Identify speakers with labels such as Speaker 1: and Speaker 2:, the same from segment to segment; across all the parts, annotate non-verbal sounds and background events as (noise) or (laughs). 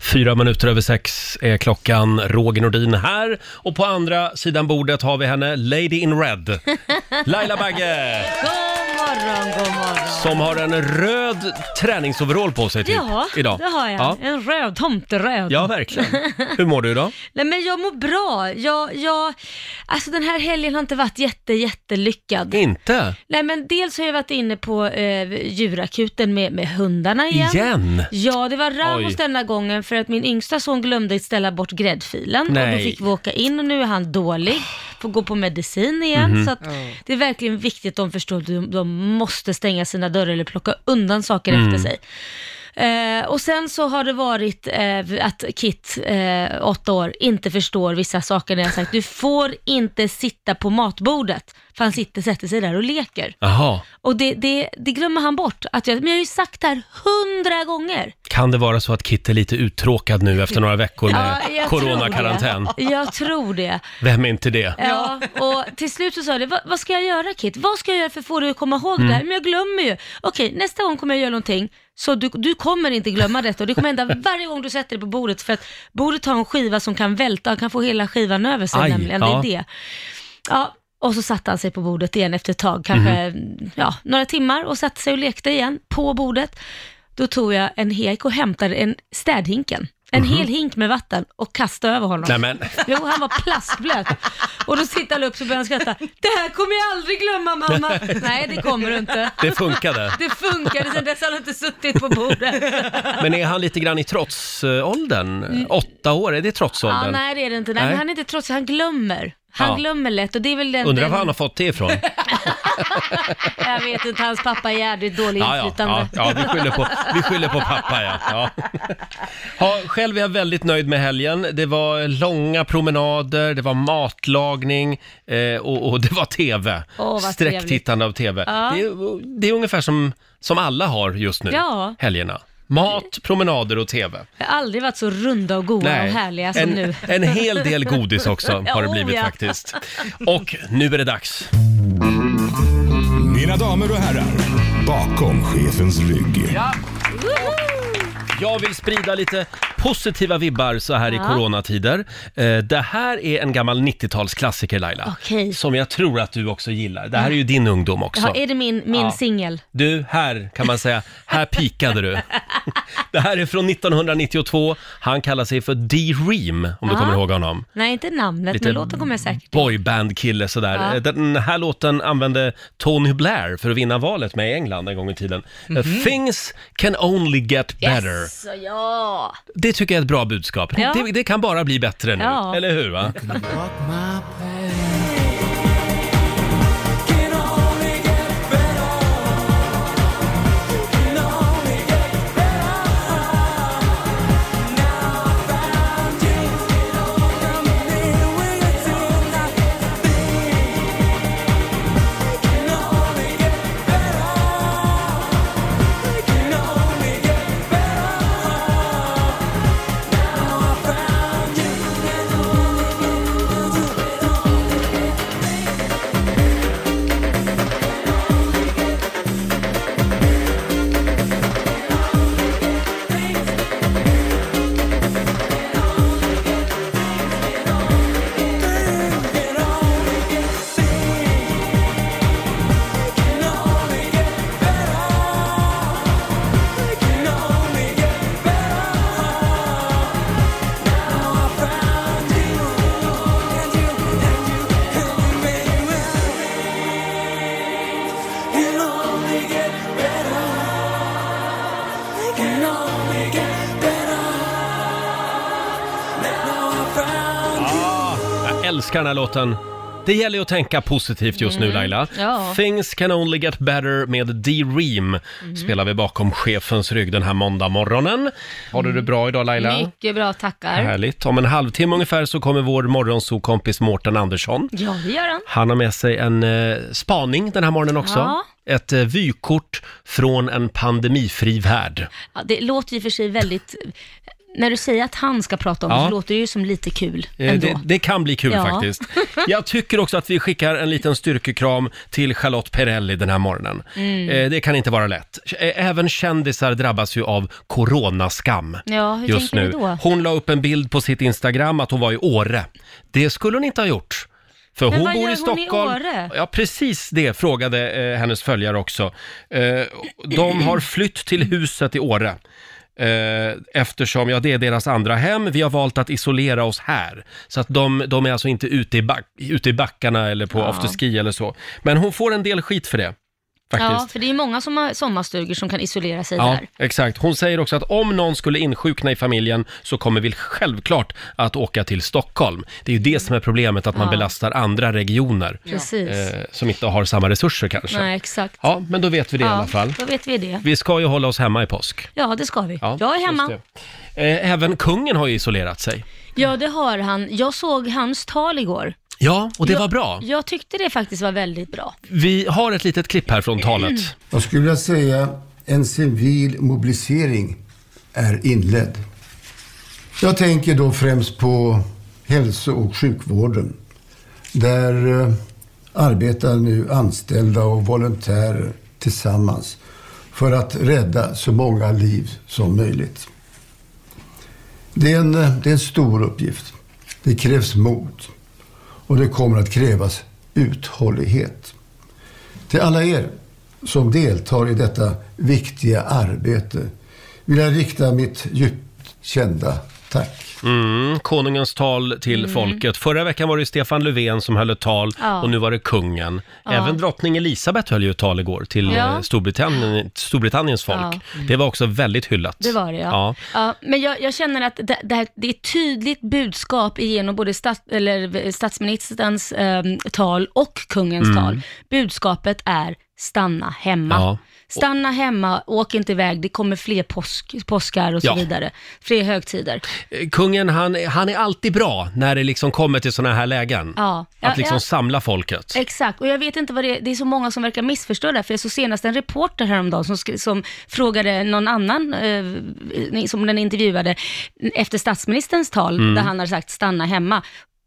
Speaker 1: Fyra minuter över sex är klockan. Roger Nordin här. Och på andra sidan bordet har vi henne, Lady in
Speaker 2: (laughs)
Speaker 1: Red. Laila Bagge!
Speaker 2: God morgon, god morgon.
Speaker 1: Som har en röd träningsoverall på sig typ,
Speaker 2: Ja,
Speaker 1: idag.
Speaker 2: det har jag.
Speaker 1: Ja.
Speaker 2: En röd, tomteröd.
Speaker 1: ja, verkligen. Hur mår du idag?
Speaker 2: Nej men jag mår bra. Jag, jag, alltså den här helgen har inte varit jätte, jättelyckad.
Speaker 1: Inte?
Speaker 2: Nej men dels har jag varit inne på eh, djurakuten med, med hundarna igen.
Speaker 1: Igen?
Speaker 2: Ja, det var Ramos
Speaker 1: Oj.
Speaker 2: denna gången för att min yngsta son glömde ställa bort gräddfilen och
Speaker 1: Nej.
Speaker 2: då fick vi åka in och nu är han dålig, får gå på medicin igen.
Speaker 1: Mhm.
Speaker 2: Så att det är verkligen viktigt att de förstår att de, de måste stänga sina dörrar eller plocka undan saker
Speaker 3: Mm.
Speaker 2: efter sig. Eh, och sen så har det varit eh, att Kit, eh, åtta år, inte förstår vissa saker när jag har sagt du får inte sitta på matbordet, för han sitter, sätter sig där och leker.
Speaker 1: Jaha,
Speaker 2: Och det, det, det glömmer han bort. Att jag, men jag har ju sagt det här hundra gånger.
Speaker 1: kan det vara så att Kit är lite uttråkad nu efter några veckor med
Speaker 2: Ja, jag tror
Speaker 1: coronakarantän?
Speaker 2: det. Jag tror det.
Speaker 1: Vem är inte det?
Speaker 2: Ja, och till slut så sa det, "Vad- vad ska jag göra Kit? Vad ska jag göra för att få dig att komma ihåg det
Speaker 1: Mm.
Speaker 2: här? Men jag glömmer ju. Okej, nästa gång kommer jag göra någonting, så du, du kommer inte glömma detta. Och det
Speaker 1: (laughs)
Speaker 2: kommer hända varje gång du sätter dig på bordet, för att bordet har en skiva som kan välta, han kan få hela skivan över sig
Speaker 3: Aj,
Speaker 2: nämligen.
Speaker 3: ja.
Speaker 2: Det är det. Ja, och så satte han sig på bordet igen efter ett tag, kanske
Speaker 1: Mhm.
Speaker 2: ja, några timmar, och satte sig och lekte igen på bordet. Då tog jag en hek och hämtade en städhinken. En
Speaker 1: Mhm.
Speaker 2: hel hink med vatten och kastade över honom.
Speaker 1: Nej, men-
Speaker 2: Jo, han var plastblöt. Och då sitter han upp så börjar han skratta. Det här kommer jag aldrig glömma mamma. Nej, det kommer du inte.
Speaker 1: Det funkade.
Speaker 2: Det funkade, sen dess har han inte suttit på bordet.
Speaker 1: Men är han lite grann i trotsåldern? Åtta år, är det trotsåldern?
Speaker 2: Mm. Ja, nej, det är det inte. Nej,
Speaker 1: Nej.
Speaker 2: Men han är inte trotsig, han glömmer. Han
Speaker 1: Ja.
Speaker 2: glömmer lätt och det är väl den...
Speaker 1: Undrar var
Speaker 2: den-
Speaker 1: han har fått
Speaker 2: (laughs)
Speaker 1: det ifrån?
Speaker 2: Jag vet inte, hans pappa är jävligt dålig
Speaker 1: Ja, ja,
Speaker 2: inflytande.
Speaker 1: ja, ja vi, skyller på, vi skyller på pappa ja. ja. ja. Själv är jag väldigt nöjd med helgen. Det var långa promenader, det var matlagning eh, och, och det var TV.
Speaker 2: Åh, vad
Speaker 1: Sträcktittande av TV.
Speaker 2: Ja.
Speaker 1: Det, är, det är ungefär som, som alla har just nu,
Speaker 2: Ja.
Speaker 1: helgerna. Mat, promenader och TV.
Speaker 2: Jag har aldrig varit så runda och goa och härliga som
Speaker 1: en,
Speaker 2: nu.
Speaker 1: en hel del godis också har
Speaker 2: (laughs)
Speaker 1: det
Speaker 2: Ja,
Speaker 1: blivit
Speaker 2: oh ja.
Speaker 1: faktiskt. Och nu är det dags.
Speaker 4: Mina damer och herrar, bakom chefens rygg.
Speaker 1: Jag vill sprida lite positiva vibbar så här i
Speaker 2: Ja.
Speaker 1: coronatider. Eh, Det här är en gammal 90-talsklassiker Laila.
Speaker 2: Okej.
Speaker 1: Som jag tror att du också gillar. Det här är ju din ungdom också.
Speaker 2: Ja, är det min, min
Speaker 1: Ja.
Speaker 2: singel?
Speaker 1: Du, här kan man säga, här pikade
Speaker 2: (laughs)
Speaker 1: du. Det här är från 1992. Han kallar sig för D-Ream, om du
Speaker 2: Ja.
Speaker 1: kommer ihåg honom.
Speaker 2: Nej, inte namnet,
Speaker 1: Lite
Speaker 2: men låten kommer jag säkert.
Speaker 1: Boyband-kille sådär.
Speaker 2: Ja.
Speaker 1: Eh, Den här låten använde Tony Blair för att vinna valet med i England en gång i tiden. Eh, Things can only get better.
Speaker 2: Mhm. Yes, och ja.
Speaker 1: Det tycker jag är ett bra budskap.
Speaker 2: Ja.
Speaker 1: Det, det kan bara bli bättre nu,
Speaker 2: Ja.
Speaker 1: eller hur? Va? Jag älskar den här låten. Det gäller ju att tänka positivt just nu
Speaker 5: Mm.
Speaker 1: Laila.
Speaker 5: Ja.
Speaker 1: Things can only get better med D-Ream
Speaker 2: Mhm.
Speaker 1: spelar vi bakom chefens rygg den här måndag morgonen. Har du det bra idag Laila?
Speaker 2: Mycket bra, tackar.
Speaker 1: Härligt. Om en halvtimme ungefär så kommer vår morgonsokompis Mårten Andersson.
Speaker 2: Ja, det gör han.
Speaker 1: Han har med sig en eh, spaning den här morgonen också.
Speaker 2: Ja.
Speaker 1: Ett eh, vykort från en pandemifri värld.
Speaker 2: Ja, det låter ju för sig väldigt när du säger att han ska prata om det
Speaker 1: Ja.
Speaker 2: så låter det ju som lite kul
Speaker 1: Eh,
Speaker 2: ändå.
Speaker 1: Det, det kan bli kul
Speaker 2: Ja. (laughs)
Speaker 1: faktiskt. Jag tycker också att vi skickar en liten styrkekram till Charlotte Perrelli den här morgonen.
Speaker 2: Mm.
Speaker 1: Eh, Det kan inte vara lätt. Eh, Även kändisar drabbas ju av coronaskam
Speaker 2: Ja, hur
Speaker 1: just
Speaker 2: tänker
Speaker 1: nu.
Speaker 2: du då?
Speaker 1: Hon la upp en bild på sitt Instagram att hon var i Åre. Det skulle hon inte ha gjort. För
Speaker 2: Men
Speaker 1: hon
Speaker 2: vad
Speaker 1: bor
Speaker 2: gör
Speaker 1: i
Speaker 2: hon i
Speaker 1: Stockholm.
Speaker 2: Åre?
Speaker 1: Ja, precis det frågade eh, hennes följare också. Eh, de har flytt till huset i Åre. Eh, eftersom, ja det är deras andra hem, vi har valt att isolera oss här. Så att de, de är alltså inte ute i, back, ute i backarna eller på
Speaker 2: Ja.
Speaker 1: afterski eller så. Men hon får en del skit för det. Faktiskt.
Speaker 2: Ja, för det är många som har sommarstugor som kan isolera sig
Speaker 1: Ja,
Speaker 2: där.
Speaker 1: exakt. Hon säger också att om någon skulle insjukna i familjen så kommer vi självklart att åka till Stockholm. Det är ju det som är problemet, att man
Speaker 2: Ja.
Speaker 1: belastar andra regioner
Speaker 2: Precis.
Speaker 1: eh, som inte har samma resurser kanske.
Speaker 2: Nej, exakt.
Speaker 1: Ja, men då vet vi det i
Speaker 2: Ja,
Speaker 1: alla fall.
Speaker 2: Då vet vi det.
Speaker 1: Vi ska ju hålla oss hemma i påsk.
Speaker 2: Ja, det ska vi.
Speaker 1: Ja,
Speaker 2: jag är
Speaker 1: just
Speaker 2: hemma.
Speaker 1: det. Eh, Även kungen har ju isolerat sig.
Speaker 2: Ja, det har han. Jag såg hans tal igår.
Speaker 1: Ja, och det
Speaker 2: jag,
Speaker 1: var bra.
Speaker 2: Jag tyckte det faktiskt var väldigt bra.
Speaker 1: Vi har ett litet klipp här från talet.
Speaker 3: Jag skulle vilja säga en civil mobilisering är inledd. Jag tänker då främst på hälso och sjukvården. Där eh, arbetar nu anställda och volontärer tillsammans för att rädda så många liv som möjligt. Det är en, eh, det är en stor uppgift. Det krävs mod och det kommer att krävas uthållighet. Till alla er som deltar i detta viktiga arbete vill jag rikta mitt djupt kända tack.
Speaker 1: Mm, konungens tal till folket. Förra veckan var det ju Stefan Löfven som höll ett tal
Speaker 2: Mm. Ja.
Speaker 1: och nu var det kungen.
Speaker 2: Ja.
Speaker 1: Även drottning Elisabeth höll ju ett tal igår till
Speaker 2: Ja.
Speaker 1: eh, Storbritannien, Storbritanniens folk. Det var också väldigt hyllat.
Speaker 2: Det var det ja.
Speaker 1: ja.
Speaker 2: ja. men jag, jag känner att det, det, här, det är ett tydligt budskap genom både stats, eller eh, statsministerns ehm, tal och kungens tal. Budskapet är stanna hemma.
Speaker 1: Mm. Ja.
Speaker 2: Stanna hemma, åk inte iväg, det kommer fler påsk, påskar och så
Speaker 1: Ja.
Speaker 2: vidare. Fler högtider.
Speaker 1: Eh, Kungen, han, han är alltid bra när det liksom kommer till sådana här lägen.
Speaker 2: Ja. Ja,
Speaker 1: Att liksom
Speaker 2: ja.
Speaker 1: samla folket.
Speaker 2: Exakt, och jag vet inte vad det är, det är så många som verkar missförstå det här, för jag såg senast en reporter häromdagen som, skri- som frågade någon annan, eh, ni- som den intervjuade, efter statsministerns tal,
Speaker 1: Mm.
Speaker 2: där han hade sagt stanna hemma.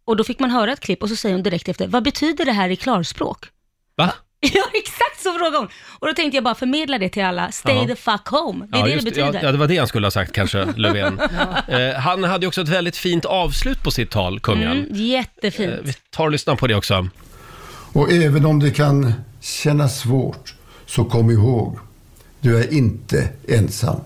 Speaker 2: Och då fick man höra ett klipp och så säger hon direkt efter, vad betyder det här i klarspråk? (laughs)
Speaker 1: Va?
Speaker 2: Ja, exakt så frågade hon. Och då tänkte jag bara förmedla det till alla, stay
Speaker 1: Ja.
Speaker 2: the fuck home, det är
Speaker 1: Ja,
Speaker 2: det
Speaker 1: just-
Speaker 2: det betyder.
Speaker 1: Ja, ja, det var det han skulle ha sagt
Speaker 2: (laughs)
Speaker 1: kanske, Löfven. eh, han hade ju också ett väldigt fint avslut på sitt tal, kungen.
Speaker 2: Mm, jättefint.
Speaker 1: Eh, Vi tar och lyssnar på det också.
Speaker 3: Och även om det kan kännas svårt så kom ihåg, du är inte ensam.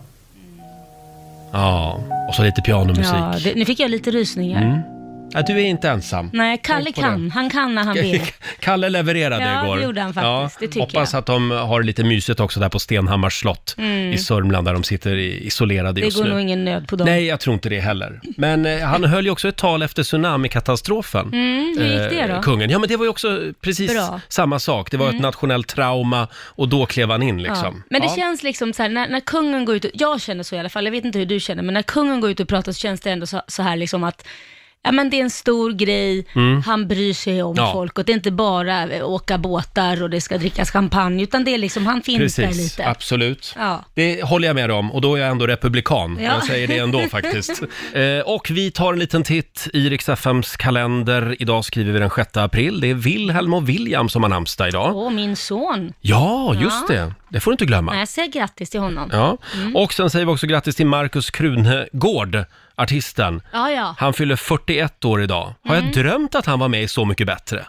Speaker 1: Ja, och så lite pianomusik.
Speaker 2: Ja, det, nu fick jag lite rysningar.
Speaker 1: Ja, du är inte ensam.
Speaker 2: Nej, Kalle
Speaker 1: Mm. på det.
Speaker 2: kan, han kan när han vill.
Speaker 1: (laughs) Kalle levererade
Speaker 2: Ja, det
Speaker 1: igår.
Speaker 2: gjorde han faktiskt. Det tycker
Speaker 1: hoppas
Speaker 2: jag. Mm.
Speaker 1: att de har lite mysigt också där på Stenhammars slott i Sörmland där de sitter i- isolerade
Speaker 2: Det
Speaker 1: just
Speaker 2: går
Speaker 1: nu.
Speaker 2: nog ingen nöd på dem.
Speaker 1: Nej, jag tror inte det heller. Men eh, han höll ju också ett tal efter tsunamikatastrofen.
Speaker 2: Mm, hur gick det
Speaker 1: Eh,
Speaker 2: då?
Speaker 1: Kungen. Ja, men det var ju också precis
Speaker 2: Bra. Mm.
Speaker 1: samma sak. Det var ett nationellt trauma och då klev han in
Speaker 2: Ja.
Speaker 1: liksom.
Speaker 2: Men det
Speaker 1: Ja.
Speaker 2: känns liksom så här, när, när kungen går ut, och, jag känner så i alla fall, jag vet inte hur du känner, men när kungen går ut och pratar så känns det ändå så, så här liksom att Ja, men det är en stor grej, han bryr sig om
Speaker 1: Mm. Ja.
Speaker 2: folk och det är inte bara eh, åka båtar och det ska drickas champagne, utan det är liksom, han finns där
Speaker 1: Precis,
Speaker 2: lite.
Speaker 1: absolut.
Speaker 2: Ja.
Speaker 1: Det håller jag med om och då är jag ändå republikan.
Speaker 2: Ja.
Speaker 1: Jag säger
Speaker 2: (laughs)
Speaker 1: det ändå faktiskt. Eh, och vi tar en liten titt i Rix FMs kalender. Idag skriver vi den 6 april. Det är Wilhelm och William som har namnsdag idag.
Speaker 2: Åh, min son.
Speaker 1: Ja, just
Speaker 2: Ja.
Speaker 1: det. Det får du inte glömma.
Speaker 2: Nej, Mm. jag säger grattis till honom. Ja,
Speaker 1: Ja. Och sen säger vi också grattis till Markus Krunegård, artisten.
Speaker 2: ja. ja.
Speaker 1: Han fyller 41 år idag. Har
Speaker 2: Mm.
Speaker 1: jag drömt att han var med i Så mycket bättre?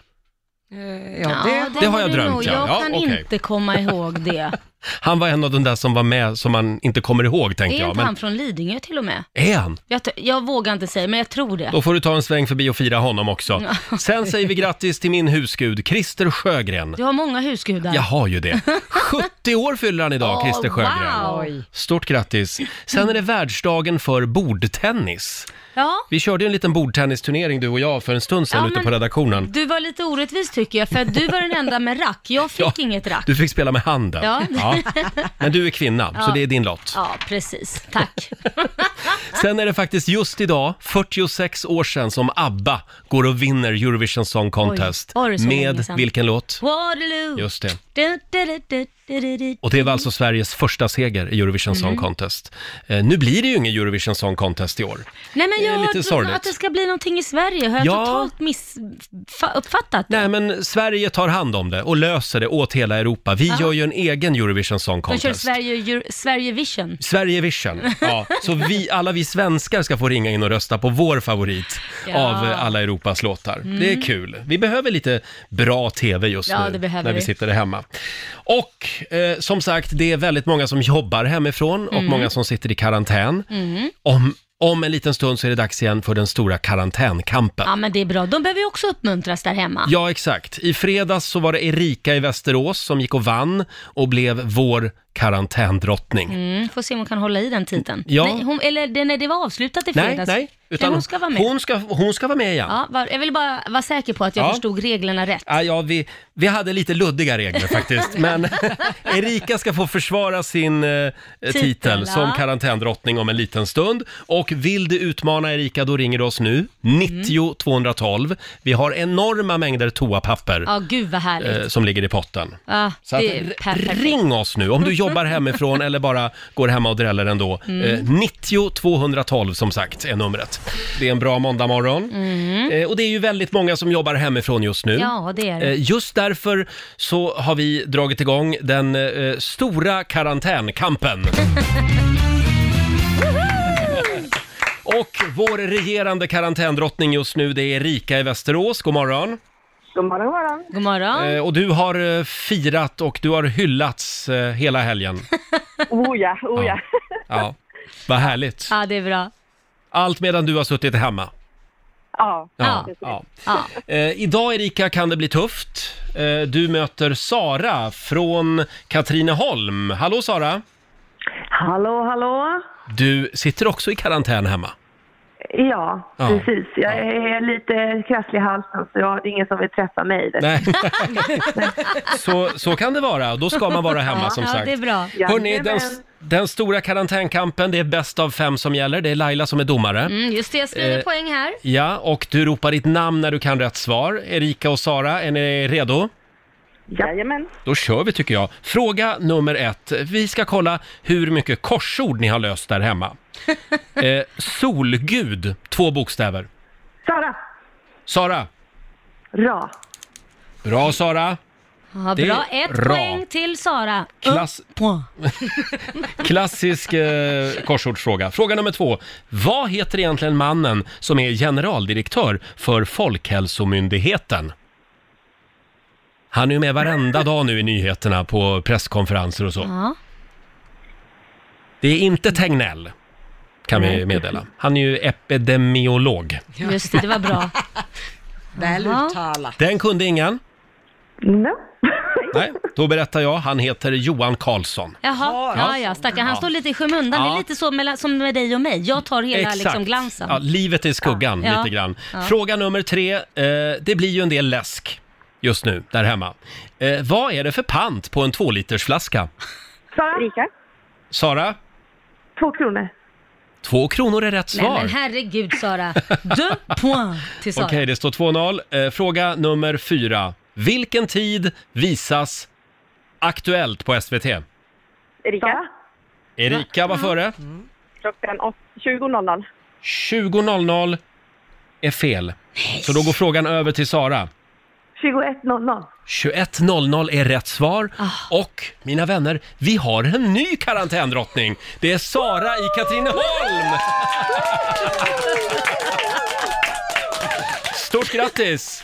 Speaker 5: Eh, Ja, det,
Speaker 2: den
Speaker 1: det har jag
Speaker 2: du
Speaker 1: drömt,
Speaker 2: nog.
Speaker 1: ja.
Speaker 2: Jag
Speaker 1: Ja,
Speaker 2: kan
Speaker 1: okej.
Speaker 2: inte komma ihåg
Speaker 1: (laughs)
Speaker 2: det.
Speaker 1: Han var en av de där som var med som man inte kommer ihåg,
Speaker 2: Är
Speaker 1: tänkte
Speaker 2: inte
Speaker 1: jag.
Speaker 2: han från Lidingö till och med?
Speaker 1: är han?
Speaker 2: Jag, t- jag vågar inte säga, men jag tror det.
Speaker 1: Då får du ta en sväng förbi och fira honom också.
Speaker 2: (laughs)
Speaker 1: Sen säger vi grattis till min husgud, Christer Sjögren.
Speaker 2: Du har många husgudar.
Speaker 1: Jag har
Speaker 2: (laughs)
Speaker 1: ju det. 70 år fyller han idag,
Speaker 2: Åh,
Speaker 1: Christer Sjögren.
Speaker 2: wow.
Speaker 5: Oj.
Speaker 1: Stort grattis. Sen är det världsdagen för bordtennis.
Speaker 2: Ja.
Speaker 1: Vi körde ju en liten bordtennisturnering du och jag för en stund sedan
Speaker 2: Ja,
Speaker 1: ute
Speaker 2: men-
Speaker 1: på redaktionen.
Speaker 2: Du var lite orättvis tycker jag, för att du var den enda med rack. Jag fick
Speaker 1: (laughs) Ja,
Speaker 2: inget rack.
Speaker 1: Du fick spela med handen.
Speaker 2: Ja.
Speaker 1: Men du är kvinna, så
Speaker 2: Ja.
Speaker 1: det är din lott.
Speaker 2: Ja, precis. Tack.
Speaker 1: Sen är det faktiskt just idag, 46 år sedan, som ABBA går och vinner Eurovision Song Contest.
Speaker 2: var det så länge
Speaker 1: med
Speaker 2: sedan?
Speaker 1: vilken låt?
Speaker 2: Waterloo.
Speaker 1: Just det.
Speaker 2: Du, du, du, du,
Speaker 1: Och det var alltså Sveriges första seger i Eurovision Song
Speaker 2: Mm.
Speaker 1: Contest. Eh, nu blir det ju ingen Eurovision Song Contest i år.
Speaker 2: Nej men
Speaker 1: Det är
Speaker 2: jag har
Speaker 1: lite sorgligt.
Speaker 2: hört att det ska bli någonting i Sverige. Har jag
Speaker 1: Ja.
Speaker 2: totalt missuppfattat det?
Speaker 1: Nej, men Sverige tar hand om det och löser det åt hela Europa. Vi
Speaker 2: Ja.
Speaker 1: gör ju en egen Eurovision Song
Speaker 2: De kör
Speaker 1: Contest.
Speaker 2: Sverige, Euro, Sverigevision. (laughs)
Speaker 1: Sverigevision. Ja, så vi, alla vi svenskar ska få ringa in och rösta på vår favorit
Speaker 2: Ja.
Speaker 1: av eh, alla Europas låtar.
Speaker 2: Mm.
Speaker 1: Det är kul. Vi behöver lite bra TV just
Speaker 2: Ja,
Speaker 1: nu
Speaker 2: det behöver
Speaker 1: när vi
Speaker 2: vi.
Speaker 1: sitter hemma. Och eh, som sagt, det är väldigt många som jobbar hemifrån och
Speaker 2: Mm.
Speaker 1: många som sitter i karantän.
Speaker 2: Mm.
Speaker 1: Om, om en liten stund så är det dags igen för den stora karantänkampen.
Speaker 2: Ja men det är bra. De behöver ju också uppmuntras där hemma.
Speaker 1: Ja, exakt. I fredags så var det Erika i Västerås som gick och vann och blev vår karantändrottning.
Speaker 2: Mm, får se om hon kan hålla i den titeln.
Speaker 1: Ja.
Speaker 2: Nej, hon, eller det, när det var avslutat i
Speaker 1: Nej,
Speaker 2: fredags.
Speaker 1: nej, utan
Speaker 2: men hon ska vara med.
Speaker 1: Hon ska, hon ska vara med igen.
Speaker 2: Ja, var, jag vill bara vara säker på att jag
Speaker 1: Ja.
Speaker 2: förstod reglerna rätt.
Speaker 1: Ja, ja vi, vi hade lite
Speaker 2: (laughs)
Speaker 1: luddiga regler faktiskt, men (laughs) Erika ska få försvara sin eh, titel,
Speaker 2: Titel, ja.
Speaker 1: som karantändrottning om en liten stund. Och vill du utmana Erika, då ringer du oss nu, 90
Speaker 2: Mm.
Speaker 1: 212. Vi har enorma mängder toapapper
Speaker 2: Ja, gud vad härligt.
Speaker 1: eh, som ligger i potten.
Speaker 2: ja,
Speaker 1: Så att,
Speaker 2: Ah, det är
Speaker 1: r-
Speaker 2: perfekt.
Speaker 1: ring oss nu
Speaker 2: (laughs)
Speaker 1: om du jobbar hemifrån eller bara går hemma och dräller ändå.
Speaker 2: Mm.
Speaker 1: Eh, 90 212 som sagt är numret. Det är en bra måndagmorgon. Eh, och det är ju väldigt många som jobbar hemifrån just nu.
Speaker 2: Mm. Ja, det är det.
Speaker 1: Eh, Just därför så har vi dragit igång den eh, stora karantänkampen. (laughs) Och vår regerande karantändrottning just nu, det är Erika i Västerås. God morgon!
Speaker 6: God morgon, god morgon.
Speaker 2: God morgon.
Speaker 1: Eh, och du har eh, firat och du har hyllats eh, hela helgen.
Speaker 6: Oh ja, oh ja.
Speaker 1: Ja, vad härligt.
Speaker 2: Ja, Ah, det är bra.
Speaker 1: Allt medan du har suttit hemma.
Speaker 6: Ja.
Speaker 1: Ja, ja.
Speaker 2: Ah.
Speaker 1: Eh, idag Erika kan det bli tufft. Eh, du möter Sara från Katrineholm. Hallå Sara!
Speaker 6: Hallå, hallå.
Speaker 1: Du sitter också i karantän hemma.
Speaker 6: Ja,
Speaker 1: Ja.
Speaker 6: precis. Jag är lite krasslig i halsen så jag, det är ingen som vill träffa mig. vet du.
Speaker 1: Nej. Så, så kan det vara och då ska man vara hemma som sagt.
Speaker 2: bra.
Speaker 1: Hörrni, den, den stora karantänkampen, det är bäst av fem som gäller. Det är Laila som är domare.
Speaker 2: Mm, just det, jag skriver
Speaker 1: Eh,
Speaker 2: poäng här.
Speaker 1: Ja, och du ropar ditt namn när du kan rätt svar. Erika och Sara, är ni redo?
Speaker 6: Jajamän.
Speaker 1: Då kör vi tycker jag. Fråga nummer ett. Vi ska kolla hur mycket korsord ni har löst där hemma. Eh, solgud, två bokstäver.
Speaker 6: Sara.
Speaker 1: Sara.
Speaker 6: Ra.
Speaker 1: Bra Sara.
Speaker 2: Ja,
Speaker 1: Det är
Speaker 2: bra. Ett
Speaker 1: bra.
Speaker 2: poäng till Sara.
Speaker 1: Klass... Klassisk eh, korsordsfråga. Fråga nummer två. Vad heter egentligen mannen som är generaldirektör för Folkhälsomyndigheten? Han är ju med varenda dag nu i nyheterna på presskonferenser och så.
Speaker 2: Ja.
Speaker 1: Det är inte Tegnell, kan vi meddela. Han är ju epidemiolog.
Speaker 2: Just det, det var
Speaker 1: (laughs)
Speaker 2: bra. Väl uttalat.
Speaker 1: Den kunde ingen.
Speaker 6: No. (laughs)
Speaker 1: Nej, då berättar jag. Han heter Johan Karlsson.
Speaker 2: Jaha, ja, ja, stackarn. Han
Speaker 1: Ja.
Speaker 2: står lite i skymundan. Det
Speaker 1: Ja.
Speaker 2: är lite så mellan, som med dig och mig. Jag tar hela liksom, glansen.
Speaker 1: Ja, livet i skuggan
Speaker 2: Ja.
Speaker 1: lite grann.
Speaker 2: Ja.
Speaker 1: Fråga nummer tre. Eh, det blir ju en del läsk just nu där hemma. Eh, vad är det för pant på en tvålitersflaska?
Speaker 6: Sara. Rika.
Speaker 1: Sara?
Speaker 6: Två kronor.
Speaker 1: Två kronor är rätt
Speaker 2: Nej
Speaker 1: svar.
Speaker 2: men herregud
Speaker 1: (laughs)
Speaker 2: Sara. Deux points till
Speaker 1: Okej,
Speaker 2: Sara.
Speaker 1: det står 2-0. Eh, fråga nummer fyra. Vilken tid visas Aktuellt på SVT?
Speaker 6: Erika.
Speaker 1: Erika var före.
Speaker 6: Klockan 20.00.
Speaker 1: 20.00 är fel. Så då går frågan över till Sara.
Speaker 6: 21.00.
Speaker 1: 21.00 är rätt svar.
Speaker 6: Ah.
Speaker 1: Och mina vänner, vi har en ny karantändrottning. Det är Sara i
Speaker 6: (laughs)
Speaker 1: Katrineholm! Stort grattis!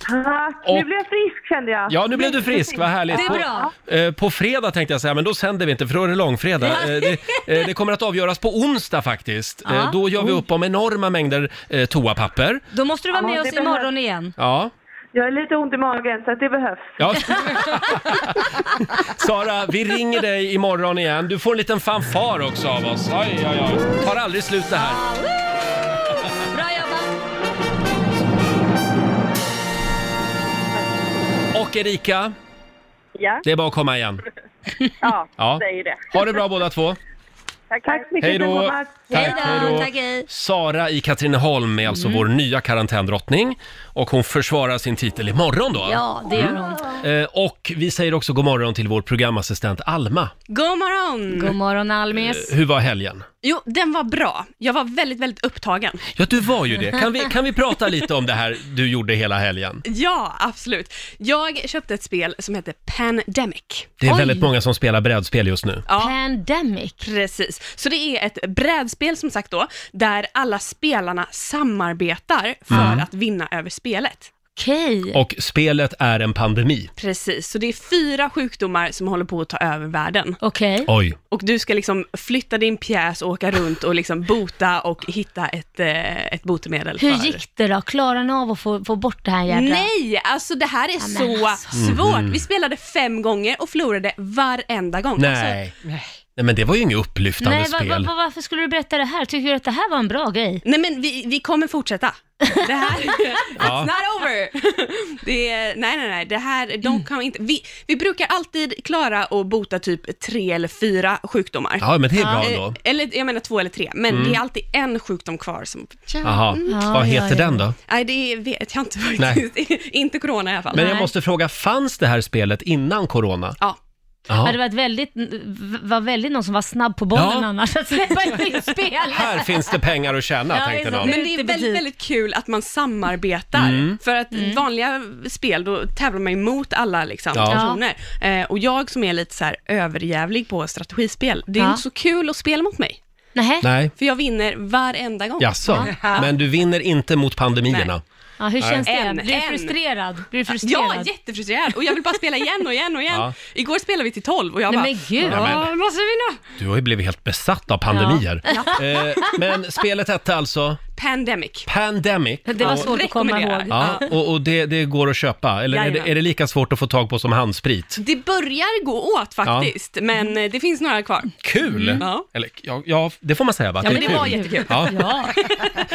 Speaker 6: Tack.
Speaker 1: Och-
Speaker 6: Nu blev jag frisk kände jag.
Speaker 1: Ja, nu blev du frisk. Vad härligt.
Speaker 6: Det är bra.
Speaker 1: På, eh, på fredag tänkte jag säga, men då sänder vi inte för då är det långfredag. Eh, det, eh, det kommer att avgöras på onsdag faktiskt.
Speaker 2: Ja.
Speaker 1: Eh, då gör vi upp om enorma mängder eh, toapapper.
Speaker 2: Då måste du vara
Speaker 6: Ja,
Speaker 2: med
Speaker 6: det
Speaker 2: oss
Speaker 6: behövs.
Speaker 2: imorgon
Speaker 1: (laughs)
Speaker 2: igen.
Speaker 1: Ja.
Speaker 6: Jag är lite ont i magen så att det behövs.
Speaker 1: ja. Sara, vi ringer dig imorgon igen. Du får en liten fanfar också av oss. Oj, oj, oj. Tar aldrig slut det här.
Speaker 2: Bra jobbat!
Speaker 1: Och Erika,
Speaker 6: Ja.
Speaker 1: det är bara att komma igen.
Speaker 6: Ja,
Speaker 1: Ja.
Speaker 6: säg det.
Speaker 1: Ha det bra båda två.
Speaker 6: Tack, så mycket.
Speaker 1: Hej då!
Speaker 6: Mats.
Speaker 1: Tack,
Speaker 2: Hej då,
Speaker 1: hej då.
Speaker 2: tack, hej. Mm.
Speaker 1: Sara i Katrineholm är alltså vår nya karantändrottning och hon försvarar sin titel imorgon då.
Speaker 2: Ja, det gör hon.
Speaker 1: Eh, och vi säger också god morgon till vår programassistent Alma.
Speaker 7: God morgon!
Speaker 2: God morgon Almis.
Speaker 1: Hur var helgen?
Speaker 7: Jo, den var bra. Jag var väldigt, väldigt upptagen.
Speaker 1: Ja, du var ju det. Kan vi, kan vi prata lite om det här du gjorde hela helgen?
Speaker 7: Ja, absolut. Jag köpte ett spel som heter Pandemic.
Speaker 1: Det är
Speaker 2: Oj.
Speaker 1: väldigt många som spelar brädspel just nu.
Speaker 7: Ja,
Speaker 2: Pandemic.
Speaker 7: precis. Så det är ett brädspel som sagt då, där alla spelarna samarbetar för att vinna över spelet.
Speaker 2: Okej.
Speaker 1: Och spelet är en pandemi.
Speaker 7: Precis, så det är fyra sjukdomar som håller på att ta över världen.
Speaker 2: Okej.
Speaker 1: Oj.
Speaker 7: Och du ska liksom flytta din pjäs och åka runt och liksom bota och hitta ett, eh, ett botemedel.
Speaker 2: Hur
Speaker 7: för-
Speaker 2: gick det då? Klarade ni av att få, få bort det här jädra?
Speaker 7: Nej, alltså det här är
Speaker 2: men
Speaker 7: så
Speaker 2: alltså.
Speaker 7: svårt.
Speaker 1: Mhm.
Speaker 7: Vi spelade fem gånger och förlorade varenda gång. Alltså,
Speaker 1: Nej. Nej, men det var ju inget upplyftande
Speaker 2: Nej, va, va,
Speaker 1: spel.
Speaker 2: va, varför skulle du berätta det här? Tycker du att det här var en bra grej?
Speaker 7: nej men vi, vi kommer fortsätta. Det här,
Speaker 2: (laughs)
Speaker 7: it's not over. Det är, nej, nej, nej, det här,
Speaker 1: Mm.
Speaker 7: de kan inte, vi, vi brukar alltid klara att bota typ tre eller fyra sjukdomar.
Speaker 1: Ja, men det är bra
Speaker 7: Eh,
Speaker 1: ändå. Mm.
Speaker 7: Eller jag menar två eller tre, men det är alltid en sjukdom kvar som...
Speaker 1: Jaha.
Speaker 2: Ja,
Speaker 1: Vad
Speaker 2: ja,
Speaker 1: heter
Speaker 2: ja.
Speaker 1: den då?
Speaker 7: Nej, det vet jag inte faktiskt. (laughs) inte corona i alla fall.
Speaker 1: Men jag
Speaker 2: Nej.
Speaker 1: måste fråga, fanns det här spelet innan corona?
Speaker 7: Ja.
Speaker 1: Ja.
Speaker 2: Ja. Det var, ett väldigt, var väldigt någon som var snabb på bollen
Speaker 1: Ja.
Speaker 2: annars (laughs) att släppa in ett spel.
Speaker 1: Här finns det pengar att tjäna,
Speaker 2: (laughs) Ja,
Speaker 1: tänkte
Speaker 2: exakt.
Speaker 1: någon.
Speaker 7: Men det
Speaker 2: Lite
Speaker 7: är
Speaker 2: betyg.
Speaker 7: väldigt, väldigt kul att man samarbetar.
Speaker 1: Mm.
Speaker 7: För att vanliga spel, då tävlar man ju mot alla liksom,
Speaker 1: Ja.
Speaker 7: personer. Eh, och jag som är lite så här överjävlig på strategispel, det är
Speaker 2: Ja.
Speaker 7: inte så kul att spela mot mig.
Speaker 2: Nej.
Speaker 1: Nej,
Speaker 7: För jag vinner varenda gång.
Speaker 1: jaså. Men du vinner inte mot pandemierna.
Speaker 7: Nej.
Speaker 2: Ja, hur känns det?
Speaker 7: En,
Speaker 2: blir du
Speaker 7: en.
Speaker 2: frustrerad? Blir du frustrerad?
Speaker 7: Ja, jättefrustrerad. Och jag vill bara spela igen och igen och igen.
Speaker 1: Ja.
Speaker 7: Igår spelade vi till 12 och jag
Speaker 2: Nej,
Speaker 7: bara,
Speaker 2: men gud.
Speaker 1: Ja, men-
Speaker 7: "Åh, måste vinna.
Speaker 1: Du har ju blivit helt besatt av pandemier. Eh, men spelet hette alltså
Speaker 7: Pandemic.
Speaker 1: Pandemic.
Speaker 2: Det var
Speaker 7: Ja.
Speaker 2: svårt att komma
Speaker 7: Rekommenderar.
Speaker 2: ihåg.
Speaker 1: Ja, och, och det, det går att köpa. Eller är det,
Speaker 7: Jajamän.
Speaker 1: är det lika svårt att få tag på som handsprit?
Speaker 7: Det börjar gå åt faktiskt, men eh, det finns några kvar.
Speaker 1: Kul!
Speaker 7: Mm. Ja.
Speaker 1: Eller, ja, ja, det får man säga va? att
Speaker 2: Ja,
Speaker 1: är
Speaker 7: men det var
Speaker 1: kul.
Speaker 7: jättekul.
Speaker 1: Ja,
Speaker 2: Ja,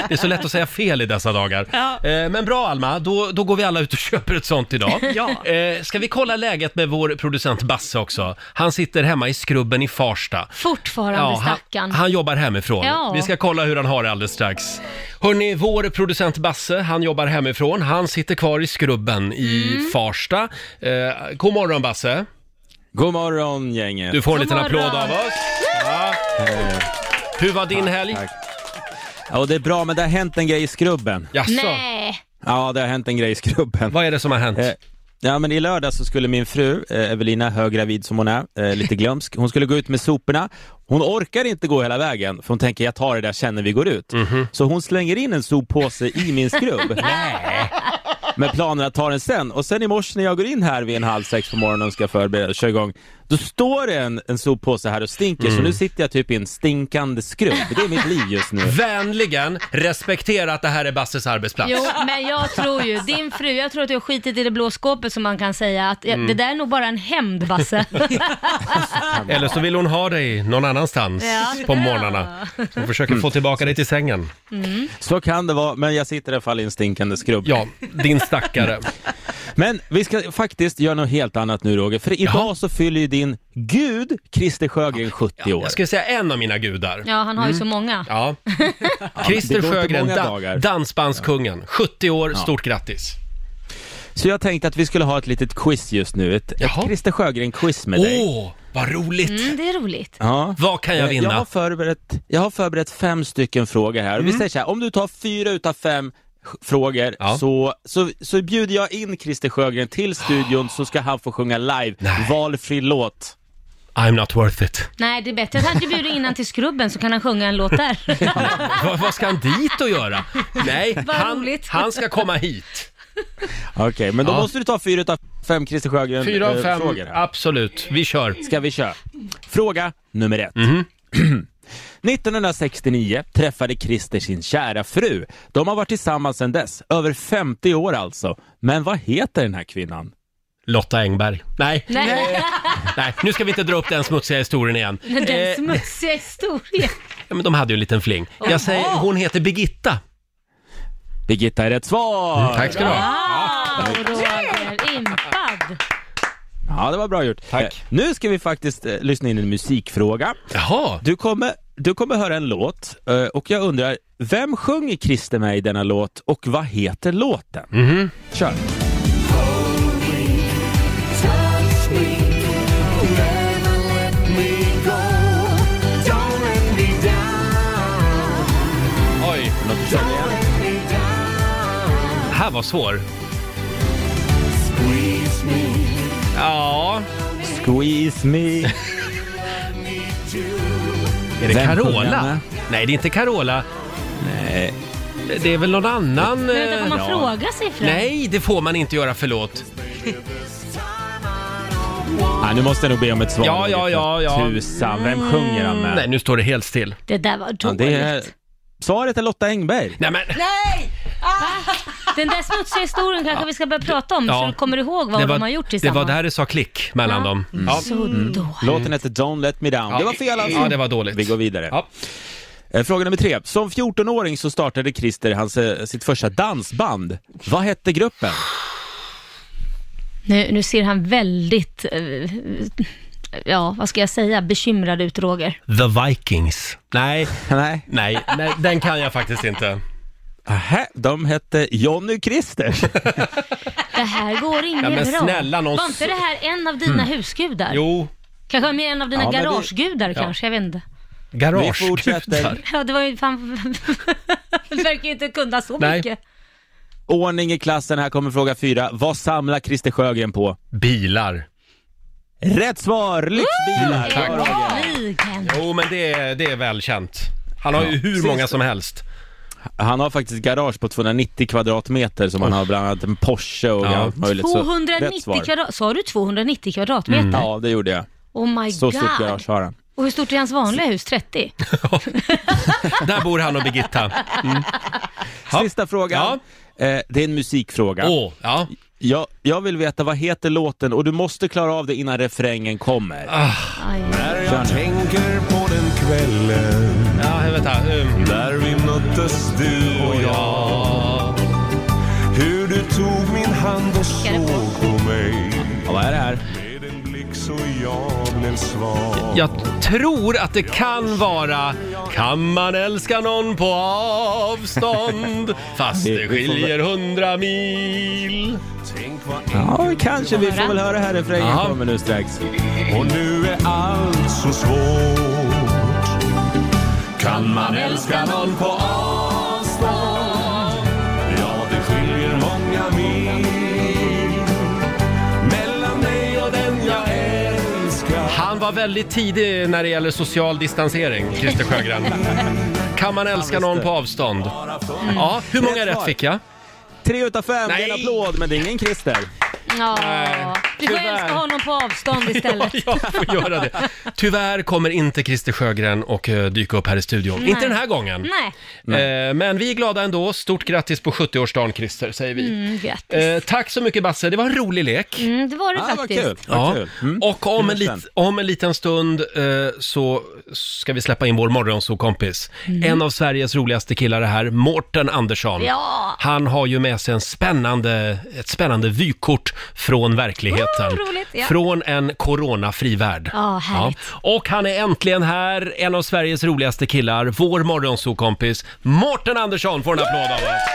Speaker 1: det är så lätt att säga fel i dessa dagar.
Speaker 7: Ja.
Speaker 1: Eh, Men bra Alma, då, då går vi alla ut och (laughs) köper ett sånt idag.
Speaker 7: (laughs) Ja.
Speaker 1: Eh, Ska vi kolla läget med vår producent Basse också? Han sitter hemma i skrubben i Farsta.
Speaker 2: fortfarande
Speaker 1: han,
Speaker 2: stackarn.
Speaker 1: han jobbar hemifrån.
Speaker 2: Ja.
Speaker 1: Vi ska kolla hur han har det alldeles strax. Hörni, vår producent Basse, han jobbar hemifrån. Han sitter kvar i skrubben i
Speaker 2: Mm.
Speaker 1: Farsta. Eh, god morgon Basse!
Speaker 8: God morgon gänget.
Speaker 1: Du får en
Speaker 2: God
Speaker 1: liten
Speaker 2: morgon.
Speaker 1: applåd av oss. Ja. Hur var din helg?
Speaker 8: tack. Ja, och det är bra, men det har hänt en grej i skrubben.
Speaker 1: Jaså,
Speaker 2: Nej,
Speaker 8: Ja, det har hänt en grej i skrubben.
Speaker 1: vad är det som har hänt?
Speaker 8: Eh, Ja, men i lördag så skulle min fru, eh, Evelina, höggravid som hon är, eh, lite glömsk, hon skulle gå ut med soporna. Hon orkar inte gå hela vägen, för hon tänker jag tar det där sen när vi går ut.
Speaker 1: Mhm.
Speaker 8: Så hon slänger in en soppåse i
Speaker 1: (laughs)
Speaker 8: min skrubb. med planen att ta den sen. Och sen i morse när jag går in här vid en halv sex på morgonen och ska förbereda och köra igång, då står det en, en soppåse här och stinker.
Speaker 1: Mm.
Speaker 8: Så nu sitter jag typ i en stinkande skrubb. Det är mitt liv just nu.
Speaker 1: Vänligen respektera att det här är Basses arbetsplats.
Speaker 2: jo, men jag tror ju, din fru, jag tror att du har skitit i det blå skåpet som man kan säga att
Speaker 1: Mm.
Speaker 2: det där är nog bara en hämnd
Speaker 1: (laughs)
Speaker 2: Basse.
Speaker 1: Eller så vill hon ha dig någon annanstans
Speaker 2: Ja.
Speaker 1: på morgnarna. Hon försöker
Speaker 8: Mm.
Speaker 1: få tillbaka dig till sängen.
Speaker 8: Så kan det vara, men jag sitter i alla fall i en stinkande skrubb.
Speaker 1: Ja, din
Speaker 8: (laughs)
Speaker 1: stackare.
Speaker 8: Men vi ska faktiskt göra något helt annat nu Roger, för idag så fyller ju din gud Christer Sjögren 70 år.
Speaker 1: Jag skulle säga en av mina gudar.
Speaker 2: Ja, han har ju
Speaker 1: Mm.
Speaker 2: så många.
Speaker 1: Ja. Christer
Speaker 8: det går inte
Speaker 1: Sjögren,
Speaker 8: många
Speaker 1: da-
Speaker 8: dagar.
Speaker 1: dansbandskungen. 70 år, stort grattis.
Speaker 8: Så jag tänkte att vi skulle ha ett litet quiz just nu, ett, ett
Speaker 1: Jaha.
Speaker 8: Christer Sjögren-quiz med
Speaker 1: Åh,
Speaker 8: dig.
Speaker 1: vad roligt!
Speaker 2: Mm, det är roligt.
Speaker 8: Ja.
Speaker 1: Vad kan jag
Speaker 8: Eh, Jag har,
Speaker 1: vinna?
Speaker 8: förberett, jag har förberett fem stycken frågor här. Vi säger så här, om du tar fyra utav fem sj- frågor
Speaker 1: Mm. Ja.
Speaker 8: så, så, så bjuder jag in Christer Sjögren till studion så ska han få sjunga live,
Speaker 1: Ah. Nej.
Speaker 8: valfri låt.
Speaker 1: I'm not worth it. (laughs)
Speaker 2: Nej, det är bättre att han inte bjuder in han till Skrubben så kan han sjunga en låt
Speaker 1: (laughs)
Speaker 2: där.
Speaker 1: vad, vad ska han dit och göra? Nej,
Speaker 2: Vad
Speaker 1: han,
Speaker 2: roligt.
Speaker 1: han ska komma hit.
Speaker 8: Okej, men då
Speaker 1: Ja.
Speaker 8: måste du ta fyra utav fem Christer
Speaker 1: Fyra av fem,
Speaker 8: Sjögren-frågor Eh, här.
Speaker 1: absolut. Vi kör.
Speaker 8: ska vi köra. Fråga nummer ett.
Speaker 1: Mhm.
Speaker 8: (clears throat) 1969 träffade Christer sin kära fru. De har varit tillsammans sedan dess, över 50 år alltså. Men vad heter den här kvinnan?
Speaker 1: Lotta Engberg. Nej,
Speaker 2: Nej,
Speaker 1: (laughs) nej, nu ska vi inte dra upp den smutsiga historien igen. Eh,
Speaker 2: den smutsiga historien.
Speaker 1: ja, men de hade ju en liten fling. Jag säger, hon heter Birgitta.
Speaker 8: Birgitta är rätt svar!
Speaker 1: Mm, Tack ska du ha.
Speaker 2: Wow, Roger, impad.
Speaker 8: Ja, det var bra gjort.
Speaker 1: Tack.
Speaker 8: Eh, Nu ska vi faktiskt eh, lyssna in en musikfråga.
Speaker 1: Jaha,
Speaker 8: Du kommer du kommer höra en låt eh, och jag undrar, vem sjunger Christer med i denna låt och vad heter låten?
Speaker 1: Mm.
Speaker 8: Kör!
Speaker 1: Oj,
Speaker 8: Något som är-
Speaker 1: här var svår. Ja,
Speaker 8: Squeeze (laughs) me.
Speaker 1: är det
Speaker 8: Vem sjunger
Speaker 1: Carola?
Speaker 8: med?
Speaker 1: Nej, det är inte Carola.
Speaker 8: Nej.
Speaker 1: Det är väl någon annan...
Speaker 2: Men vänta, får man
Speaker 1: eh,
Speaker 2: fråga siffran?
Speaker 1: Nej, det får man inte göra, förlåt.
Speaker 8: Ah, nu måste jag nog be om ett svar.
Speaker 1: Ja, ja, ja, ja. Mm.
Speaker 8: Tusan, vem sjunger han med?
Speaker 1: Nej, nu står det helt still.
Speaker 2: Det där var
Speaker 8: Ja,
Speaker 2: dåligt.
Speaker 8: det är... Svaret är Lotta Engberg.
Speaker 1: Nej men,
Speaker 2: Den där smutsiga historien kanske vi ska börja prata om
Speaker 1: Ja.
Speaker 2: så du kommer ihåg vad
Speaker 1: det,
Speaker 2: de har
Speaker 1: var,
Speaker 2: gjort
Speaker 1: det var
Speaker 2: tillsammans.
Speaker 1: där det sa klick mellan
Speaker 2: Ja. Mm.
Speaker 1: dem. Ja. Mm.
Speaker 2: Så då.
Speaker 8: Låten heter Don't Let Me Down.
Speaker 1: Ja,
Speaker 8: Det var fel alltså.
Speaker 1: Ja, det var dåligt.
Speaker 8: Vi går vidare.
Speaker 1: Ja.
Speaker 8: Eh, Fråga nummer tre. Som 14-åring så startade Christer hans, eh, sitt första dansband. Vad hette gruppen?
Speaker 2: Nu, nu ser han väldigt, eh, ja vad ska jag säga, bekymrad ut Roger.
Speaker 1: The Vikings. Nej,
Speaker 8: Nej.
Speaker 1: (sighs) nej, nej, den kan jag faktiskt inte.
Speaker 8: Aha, de hette Jonny och
Speaker 1: (laughs)
Speaker 8: Christer.
Speaker 2: Det här går inget
Speaker 1: Ja, men
Speaker 2: bra.
Speaker 1: snälla, någon
Speaker 2: Var inte det här en av dina husgudar?
Speaker 1: Jo,
Speaker 2: Kanske mer en av dina
Speaker 8: Ja, men vi-
Speaker 2: garagegudar kanske, jag vet inte.
Speaker 8: Vi
Speaker 1: garage.
Speaker 8: fortsätter.
Speaker 2: Ja, det var ju fan... (laughs) Du verkar ju inte kunna så
Speaker 1: Nej.
Speaker 2: mycket.
Speaker 8: Ordning i klassen. Här kommer fråga fyra. Vad samlar Christer Sjögren på?
Speaker 1: Bilar.
Speaker 8: Rätt svar! Lyxbilar!
Speaker 1: Mm, Tack.
Speaker 8: Bra, Roger.
Speaker 2: Liken.
Speaker 1: Jo, men det är, det är välkänt. Han har ju hur många som helst.
Speaker 8: Han har faktiskt garage på 290 kvadratmeter som han har bland annat en Porsche och
Speaker 1: Ja.
Speaker 8: allt möjligt. så rätt
Speaker 2: 290
Speaker 8: svar. Mm.
Speaker 2: kvadrat... Sa du 290 kvadratmeter?
Speaker 8: Ja, det gjorde jag.
Speaker 2: Oh my
Speaker 8: Så
Speaker 2: god.
Speaker 8: stort garage har han.
Speaker 2: Och hur stort är hans vanliga hus? 30?
Speaker 1: Där bor han och Birgitta. Mm. Ja.
Speaker 8: Sista frågan. Eh, det är en musikfråga.
Speaker 1: Åh, ja.
Speaker 8: Jag, jag vill veta vad heter låten och du måste klara av det innan refrängen kommer.
Speaker 1: Ah.
Speaker 2: Aj.
Speaker 4: När jag tänker på den kvällen
Speaker 1: Ja, vänta. Um,
Speaker 4: där vi möttes du och jag. Hur du tog min hand och såg på mig.
Speaker 8: Ja, vad är det här?
Speaker 4: Med en blick så jag blev svag.
Speaker 1: jag tror att det kan vara Kan man älska någon på avstånd fast det skiljer hundra mil?
Speaker 8: Ja, kanske. Vi får väl höra här refrängen
Speaker 1: Jaha.
Speaker 8: kommer nu strax.
Speaker 4: Och nu är allt så svårt. Kan man älska någon på avstånd? Ja, det skiljer många mil. Mellan mig och den jag älskar.
Speaker 1: Han var väldigt tidig när det gäller social distansering, Christer Sjögren. Kan man älska någon på avstånd? Ja, hur många
Speaker 8: Rätt
Speaker 1: rätt
Speaker 8: svar.
Speaker 1: fick jag?
Speaker 8: Tre utav fem, det är en
Speaker 1: Nej.
Speaker 8: applåd, men det är ingen Christer.
Speaker 2: Ja.
Speaker 1: Nej,
Speaker 2: Du får
Speaker 1: tyvärr.
Speaker 2: älska honom på avstånd istället.
Speaker 8: (laughs)
Speaker 1: Jag får göra det. Tyvärr kommer inte Christer Sjögren och eh, dyka upp här i studion. Inte den här gången.
Speaker 2: Nej,
Speaker 1: Eh, men vi är glada ändå. Stort grattis på 70-årsdagen Christer, säger vi.
Speaker 2: mm, grattis.
Speaker 1: Eh, tack så mycket Basse, det var en rolig lek.
Speaker 2: Mm, det var det
Speaker 8: Ja, Ah, vad
Speaker 2: faktiskt.
Speaker 8: kul. Vad kul. Mm.
Speaker 1: Och om en,
Speaker 8: Kul
Speaker 1: lit,
Speaker 8: sen.
Speaker 1: om en liten stund eh, så ska vi släppa in vår morgonsokompis.
Speaker 8: Mm.
Speaker 1: En av Sveriges roligaste killar är här, Mårten Andersson.
Speaker 2: Ja.
Speaker 1: Han har ju med sig en spännande, ett spännande vykort från verkligheten.
Speaker 2: Oh, roligt, ja.
Speaker 1: Från en coronafri värld.
Speaker 2: Ja, härligt.
Speaker 1: Och han är äntligen här, en av Sveriges roligaste killar, vår morgonsokompis Mårten Andersson får en applåd av oss.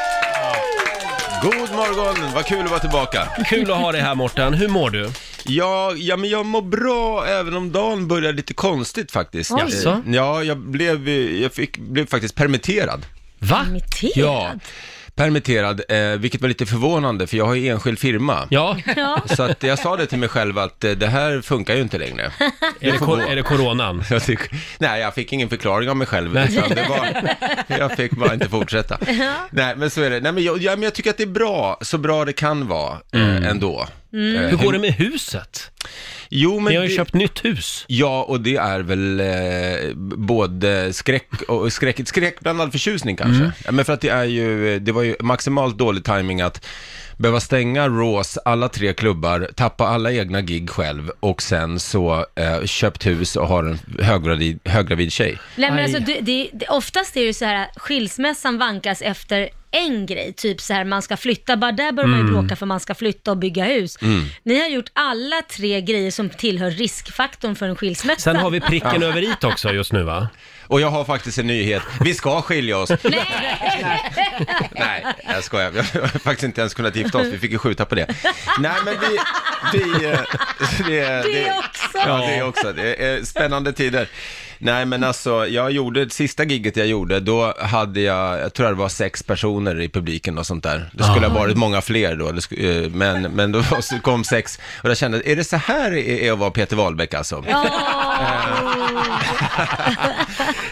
Speaker 9: God morgon, vad kul att vara tillbaka.
Speaker 1: Kul att ha dig här Mårten, hur mår du?
Speaker 9: Ja, ja, men jag mår bra även om dagen börjar lite konstigt faktiskt.
Speaker 2: Oj.
Speaker 1: Jaså?
Speaker 9: Ja, jag blev, eh, jag fick, blev faktiskt permitterad.
Speaker 1: Va?
Speaker 2: Imiterad.
Speaker 9: Ja, permitterad, eh, vilket var lite förvånande för jag har ju enskild firma.
Speaker 1: Ja,
Speaker 2: (laughs) Ja.
Speaker 9: Så att jag sa det till mig själv att eh, det här funkar ju inte längre.
Speaker 1: är det, kor- är det
Speaker 9: (laughs)
Speaker 1: coronan?
Speaker 9: Jag tyck- nej, jag fick ingen förklaring av mig själv.
Speaker 1: Nej.
Speaker 9: Utan det var, jag fick bara inte fortsätta. Nej, men så är det. Nej, men jag, ja, men jag tycker att det är bra, så bra det kan vara eh, ändå. Eh,
Speaker 2: Mm.
Speaker 1: Hur går det med huset?
Speaker 9: Jo, men
Speaker 1: Ni har ju
Speaker 9: det-
Speaker 1: köpt nytt hus.
Speaker 9: Ja, och det är väl eh, både skräck och skräck, skräckblandad förtjusning kanske. Ja, men för att det är ju, det var ju maximalt dålig timing att behöva stänga Raws alla tre klubbar, tappa alla egna gig själv och sen så eh, köpt hus och har en höggravid, höggravid tjej.
Speaker 2: Nej, men
Speaker 1: Aj.
Speaker 2: alltså, det, det, det, oftast är det ju så här, skilsmässan vankas efter en grej, typ så här man ska flytta, bara där börjar man ju
Speaker 10: Mm.
Speaker 2: bråka för man ska flytta och bygga hus.
Speaker 10: Mm.
Speaker 2: Ni har gjort alla tre grejer som tillhör riskfaktorn för en skilsmässa.
Speaker 1: Sen har vi pricken över i också just nu va?
Speaker 9: Och jag har faktiskt en nyhet. Vi ska skilja oss. (laughs) Nej, jag skojar. Vi har faktiskt inte ens kunnat gifta oss. Vi fick ju skjuta på det. Nej, men vi... vi eh, det,
Speaker 4: Det också.
Speaker 9: Ja, det också. Det är eh, spännande tider. Nej, men alltså, jag gjorde, det sista giget jag gjorde, då hade jag, jag tror det var sex personer i publiken och sånt där. Det skulle
Speaker 8: Ja.
Speaker 9: ha varit många fler då, det sku- eh, men, men då (laughs) var- så kom sex. Och jag kände, är det så här det är att vara Peter Wahlbeck alltså? (laughs)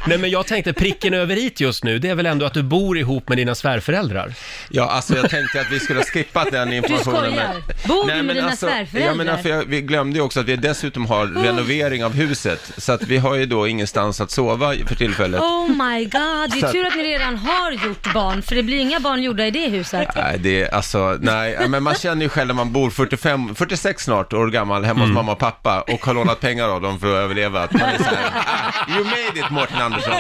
Speaker 1: Nej men jag tänkte pricken över i just nu, det är väl ändå att du bor ihop med dina svärföräldrar?
Speaker 9: Ja, alltså jag tänkte att vi skulle ha skippat den informationen.
Speaker 2: skojar. Bor du
Speaker 9: Nej,
Speaker 2: med
Speaker 9: men
Speaker 2: dina svärföräldrar?
Speaker 9: Ja, men alltså, jag, vi glömde ju också att vi dessutom har renovering av huset, så att vi har ju då ingenstans att sova för tillfället.
Speaker 2: Oh my god, det
Speaker 9: Så
Speaker 2: är
Speaker 9: att-
Speaker 2: tur att ni redan har gjort barn, för det blir inga barn gjorda i det huset.
Speaker 9: Nej, det är alltså, nej, men man känner ju själv när man bor 45, 46 snart år gammal hemma hos mamma och pappa och har
Speaker 2: (laughs)
Speaker 9: lånat pengar av dem för att överleva. Att man är så här, ah, you made it Mårten Andersson.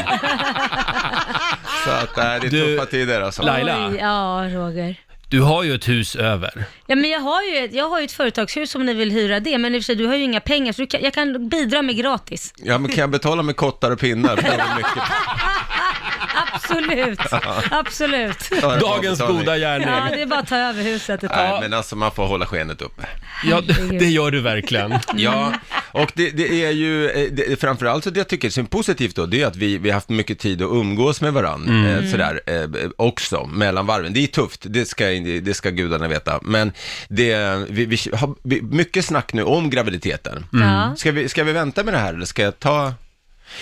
Speaker 9: Så att nej, det är tuffa tider alltså.
Speaker 2: Oj, ja, Roger.
Speaker 1: Du har ju ett hus över.
Speaker 2: Ja, men jag, har ju ett, jag har ju ett företagshus om ni vill hyra det, men i och för sig, du har ju inga pengar, så du kan, jag kan bidra med gratis.
Speaker 9: Ja, men kan jag betala med kottar och pinnar? För det var mycket.
Speaker 2: Absolut,
Speaker 9: (laughs) Ja.
Speaker 2: absolut.
Speaker 9: Ja, det var Dagens betalning. goda gärning.
Speaker 2: Ja, det är bara att ta över huset ett
Speaker 9: Nej,
Speaker 2: tag.
Speaker 9: men alltså man får hålla skenet uppe.
Speaker 1: Ja, det gör du verkligen.
Speaker 9: Ja, och det, det är ju eh, det, framförallt så det jag tycker som är positivt då, det är att vi, vi har haft mycket tid att umgås med varandra
Speaker 1: Mm.
Speaker 9: eh, sådär eh, också, mellan varven. Det är tufft, det ska, det ska gudarna veta, men det, vi, vi har vi- mycket snack nu om graviditeten.
Speaker 1: Mm. Ja.
Speaker 9: Ska, vi, ska vi vänta med det här eller ska jag ta...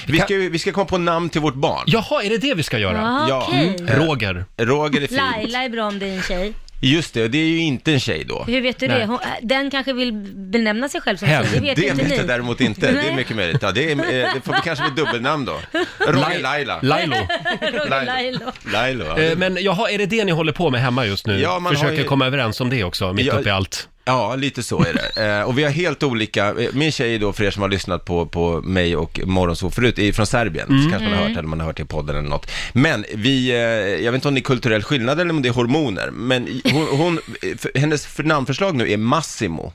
Speaker 9: Vi ska, ju- vi ska komma på namn till vårt barn.
Speaker 1: Jaha, är det det vi ska göra?
Speaker 2: Ja, okej.
Speaker 9: Mm.
Speaker 1: Roger.
Speaker 9: Roger är fint.
Speaker 2: Laila är bra om det är en tjej.
Speaker 9: Just det, och det är ju inte en tjej då.
Speaker 2: Hur vet du
Speaker 9: Nej.
Speaker 2: det? Hon, äh, den kanske vill benämna sig själv som
Speaker 9: Hen,
Speaker 2: tjej, det vet
Speaker 9: det
Speaker 2: ju inte ni.
Speaker 9: jag däremot inte. Det är
Speaker 2: Nej.
Speaker 9: mycket möjligt. Ja, det, är, eh, det får vi kanske med dubbelnamn då. Roger
Speaker 1: Lai-
Speaker 9: Laila.
Speaker 1: Lailo.
Speaker 2: (laughs) Roger Lailo.
Speaker 9: Lailo, ja.
Speaker 1: Eh, Men jaha, är det det ni håller på med hemma just nu?
Speaker 9: Ja, man har
Speaker 1: Försöker
Speaker 9: ju-
Speaker 1: komma överens om det också, mitt
Speaker 9: Ja,
Speaker 1: uppe i allt.
Speaker 9: Ja, lite så är det. Eh, och vi har helt olika, eh, min tjej då, för er som har lyssnat på, på mig och Morgonzoo förut, är från Serbien.
Speaker 1: Mm.
Speaker 9: Så kanske man har
Speaker 1: Mm.
Speaker 9: hört henne, man har hört det i podden eller något. Men vi, eh, jag vet inte om det är kulturell skillnad eller om det är hormoner, men i- hon, hon eh, för, hennes för- namnförslag nu är Massimo.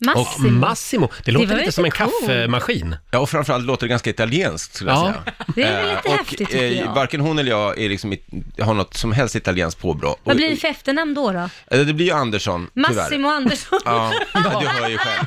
Speaker 2: Massimo.
Speaker 1: Massimo, det låter
Speaker 2: Det var
Speaker 1: lite
Speaker 2: lite
Speaker 1: som en
Speaker 2: coolt.
Speaker 1: kaffemaskin.
Speaker 9: Ja, och framförallt låter det ganska italienskt skulle jag
Speaker 1: Ja.
Speaker 9: säga.
Speaker 2: Det är väl
Speaker 9: Eh,
Speaker 2: lite
Speaker 9: och,
Speaker 2: häftigt, tycker
Speaker 9: eh,
Speaker 2: jag.
Speaker 9: Varken hon eller jag är liksom, i- har något som helst italienskt påbrå.
Speaker 2: Vad
Speaker 9: Och-
Speaker 2: blir det för efternamn då? då?
Speaker 9: Eh, Det blir ju Andersson, tyvärr.
Speaker 2: Massimo Andersson.
Speaker 9: Ja, ja, du hör ju själv.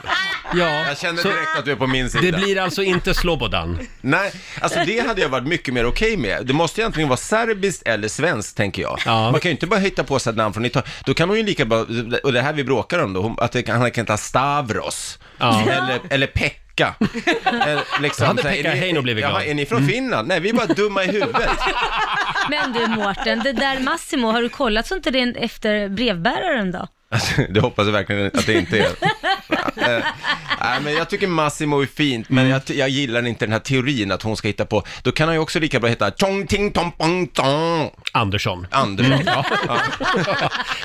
Speaker 1: Ja,
Speaker 9: jag känner direkt att du är på min sida.
Speaker 1: Det blir alltså inte Slobodan.
Speaker 9: Nej, alltså det hade jag varit mycket mer okej med. Det måste ju antingen vara serbiskt eller svenskt, tänker jag. Man kan ju inte bara hitta på sig ett namn från Italien. Då kan hon ju lika bra, och det här vi bråkar om då, hon- att det kan, han kan heta Stavros,
Speaker 1: Ja.
Speaker 9: eller, eller Pekka. Eller liksom,
Speaker 1: Då hade
Speaker 9: så här, är
Speaker 1: Pekka
Speaker 9: ni-
Speaker 1: Heino blivit
Speaker 9: Jaha,
Speaker 1: glad.
Speaker 9: är ni från
Speaker 1: Mm.
Speaker 9: Finland? Nej, vi är bara dumma i huvudet.
Speaker 2: (laughs) Men du Mårten, det där Massimo, har du kollat så inte det är efter brevbäraren då?
Speaker 9: Alltså, (laughs) det hoppas jag verkligen att det inte är. (laughs) Eh, Nej, men jag tycker Massimo är fint, men jag, jag gillar inte den här teorin att hon ska hitta på. Då kan han ju också lika bra heta Chong Ting Tom Pong Tong.
Speaker 1: Andersson.
Speaker 9: Andersson, Mm, ja. ja.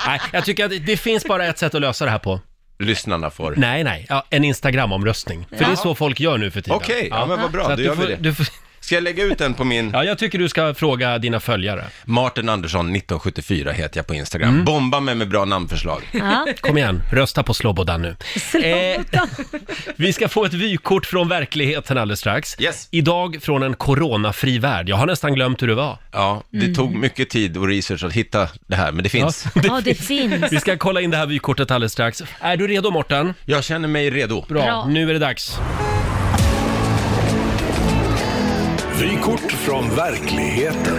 Speaker 1: Nej, jag tycker att det finns bara ett sätt att lösa det här på.
Speaker 9: Lyssnarna får.
Speaker 1: Nej, nej, ja, en Instagram-omröstning. För det är
Speaker 9: Jaha.
Speaker 1: så folk gör nu för tiden.
Speaker 9: Okej, ja, men vad bra,
Speaker 1: Så att
Speaker 9: då
Speaker 1: du
Speaker 9: gör vi
Speaker 1: får-
Speaker 9: det.
Speaker 1: Du får...
Speaker 9: Ska jag lägga ut den på min...
Speaker 1: Ja, jag tycker du ska fråga dina följare.
Speaker 9: Martin Andersson 1974 heter jag på Instagram.
Speaker 1: Mm.
Speaker 9: Bomba mig med bra namnförslag.
Speaker 2: Ja.
Speaker 1: Kom igen, rösta på Slobodan nu. Eh, vi ska få ett vykort från verkligheten alldeles strax. Idag från en coronafri värld. Jag har nästan glömt hur det var.
Speaker 9: Ja, det
Speaker 1: Mm.
Speaker 9: tog mycket tid och research att hitta det här, men det finns.
Speaker 1: Ja,
Speaker 2: Ja, det finns.
Speaker 1: Vi ska kolla in det här vykortet alldeles strax. Är du redo Morten?
Speaker 9: Jag känner mig redo.
Speaker 1: Bra,
Speaker 2: Bra.
Speaker 1: nu är det dags.
Speaker 11: Vykort från verkligheten.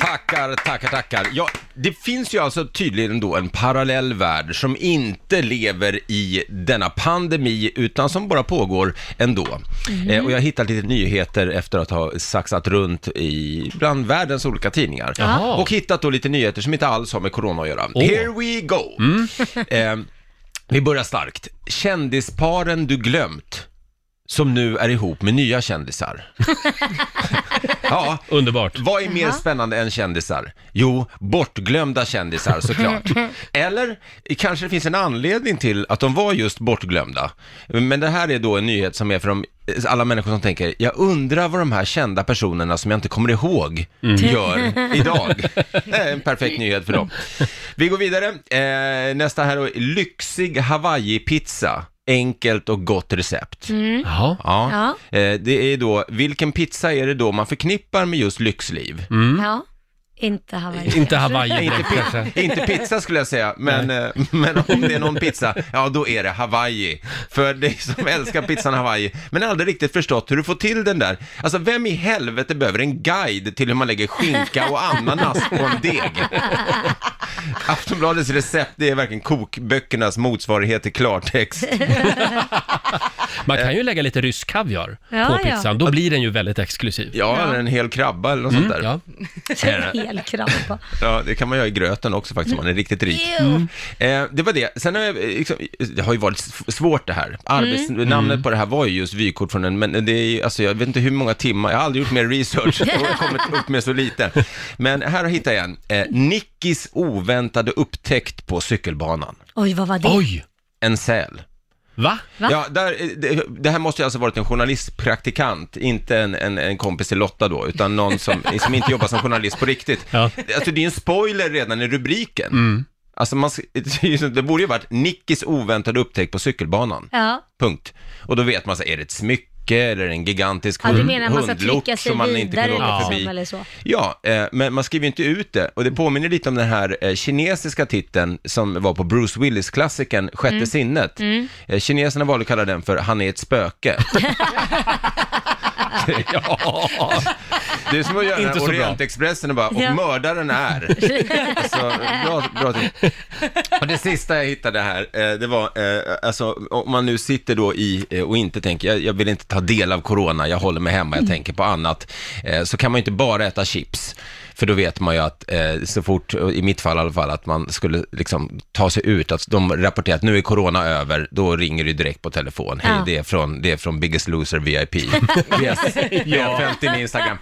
Speaker 9: Tackar, tackar, tackar. Ja, det finns ju alltså tydligen då en parallell värld som inte lever i denna pandemi utan som bara pågår ändå.
Speaker 8: Mhm.
Speaker 9: Eh, och jag har hittat lite nyheter efter att ha saxat runt i bland världens olika tidningar.
Speaker 8: Jaha.
Speaker 9: Och hittat då lite nyheter som inte alls har med corona att göra.
Speaker 8: Åh. Mm.
Speaker 9: Here we go! (laughs) Eh, vi börjar starkt.
Speaker 8: (laughs)
Speaker 9: Kändisparen du glömt som nu är ihop med nya kändisar. Ja,
Speaker 1: underbart.
Speaker 9: Vad är mer
Speaker 10: Jaha.
Speaker 9: spännande än kändisar? Jo, bortglömda kändisar såklart. Eller eh, kanske det finns en anledning till att de var just bortglömda. Men det här är då en nyhet som är för de, eh, alla människor som tänker, jag undrar vad de här kända personerna som jag inte kommer ihåg Mm. gör idag. Det är en perfekt nyhet för dem. Vi går vidare. Eh, nästa här då, lyxig hawaii-pizza. Enkelt och gott recept.
Speaker 10: Mm.
Speaker 9: Ja. Eh, det är då, vilken pizza är det då man förknippar med just lyxliv?
Speaker 2: Ja. Inte Hawaii.
Speaker 1: (laughs) Mm. Inte
Speaker 2: kanske.
Speaker 1: Hawaii
Speaker 9: Inte, pi- inte pizza skulle jag säga, men, eh, men om det är någon pizza, ja då är det Hawaii. För dig som älskar pizzan Hawaii, men aldrig riktigt förstått hur du får till den där. Alltså vem i helvete behöver en guide till hur man lägger skinka och ananas på en deg? Aftonbladets recept, det är verkligen kokböckernas motsvarighet till klartext.
Speaker 1: Man kan ju lägga lite rysk kaviar
Speaker 9: Eh. Ja,
Speaker 1: på
Speaker 9: ja.
Speaker 1: pizzan, då blir den ju väldigt exklusiv.
Speaker 9: Ja, eller en hel krabba eller något
Speaker 1: Mm.
Speaker 9: sånt där.
Speaker 2: (laughs) En hel krabba.
Speaker 9: Ja, det kan man göra i gröten också faktiskt om man är riktigt rik.
Speaker 2: Ew. Mm.
Speaker 9: Eh, det var det. Sen har jag, eh, liksom, det har ju varit s- svårt det här. Arbets-
Speaker 1: Mm.
Speaker 9: Namnet
Speaker 1: Mm.
Speaker 9: på det här var ju just vykort från en, men det är ju, alltså jag vet inte hur många timmar, jag har aldrig gjort mer
Speaker 2: (laughs)
Speaker 9: research och kommit upp med så lite. Men här hittar jag en. Eh, Nickis oväntade upptäckt på cykelbanan.
Speaker 2: Oj, vad var det?
Speaker 9: En säl.
Speaker 1: Va?
Speaker 2: Va?
Speaker 9: Ja, där, eh, det, det här måste ju alltså varit en journalistpraktikant, inte en, en, en kompis till Lotta då, utan någon som, som inte jobbar som journalist på riktigt. Alltså det är ju en spoiler redan i rubriken. Alltså man, s- det är ju- det borde ju varit Nickis oväntade upptäckt på cykelbanan.
Speaker 2: Ja.
Speaker 9: Punkt. Och då vet man så här, är det ett smycke eller en gigantisk
Speaker 2: ja,
Speaker 9: hund,
Speaker 2: du menar att man ska
Speaker 9: hundlock
Speaker 2: trycka sig
Speaker 9: som man
Speaker 2: vidare
Speaker 9: inte kunde åka
Speaker 2: liksom,
Speaker 9: förbi?
Speaker 2: eller så?
Speaker 9: Ja, eh, men man skriver ju inte ut det. Och det påminner lite om
Speaker 2: (laughs)
Speaker 9: den här eh, kinesiska titeln som var på Bruce Willis-klassikern Sjätte
Speaker 2: Mm.
Speaker 9: sinnet.
Speaker 2: Mm.
Speaker 9: Eh, Kineserna valde att kalla den för Han är ett spöke. (laughs) ja. Det är som att göra den
Speaker 1: Inte
Speaker 9: här
Speaker 1: så bra.
Speaker 9: Orientexpressen och bara, och
Speaker 1: Ja.
Speaker 9: mördaren är. alltså, bra, bra ting. Och det sista jag hittade här, eh, det var, eh, alltså om man nu sitter då i eh, och inte tänker, jag, jag vill inte ta del av corona, jag håller mig hemma, jag tänker på annat, eh, så kan man ju inte bara äta chips. För då vet man ju att eh, så fort, i mitt fall i alla fall, att man skulle liksom ta sig ut, att de rapporterar att nu är corona över, då ringer du direkt på telefon. Hej,
Speaker 1: Ja.
Speaker 9: det, är från, det är från Biggest Loser VIP. yes,
Speaker 1: Ja.
Speaker 9: 50 med Instagram.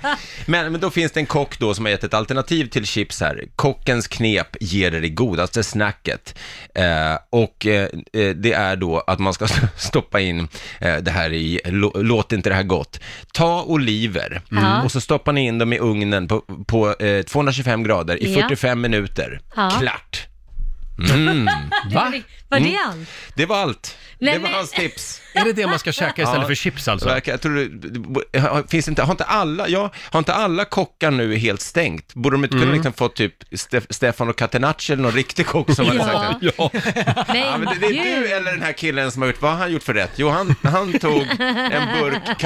Speaker 9: Men, men då finns det en kock då som har gett ett alternativ till chips här. Kockens knep ger er det godaste snacket. Eh, och eh, eh, det är då att man ska (laughs) stoppa in eh, det här i, lå- låt inte det här gott. Ta oliver
Speaker 10: Ja.
Speaker 9: och så stoppar ni in dem i ugnen på, på eh, 225 grader i
Speaker 2: Ja.
Speaker 9: 45 minuter.
Speaker 2: Ja.
Speaker 9: Klart! Mm.
Speaker 2: Va? Var det
Speaker 9: Mm.
Speaker 2: allt?
Speaker 9: Det var allt.
Speaker 2: Nej,
Speaker 9: det var
Speaker 2: men-
Speaker 9: hans tips.
Speaker 1: Är det det man ska käka istället för chips alltså?
Speaker 9: Jag, jag tror, det- har- finns inte, har, inte alla, ja, har inte alla kockar nu helt stängt? Borde de inte kunna
Speaker 1: Mm.
Speaker 9: liksom få typ Ste- Stefano Catenacci eller någon riktig kock
Speaker 2: (laughs)
Speaker 9: som hade
Speaker 1: Ja.
Speaker 9: sagt det? (laughs) Ja, men det, det är du eller den här killen som har gjort, vad har han gjort för rätt? Jo, han, han tog en burk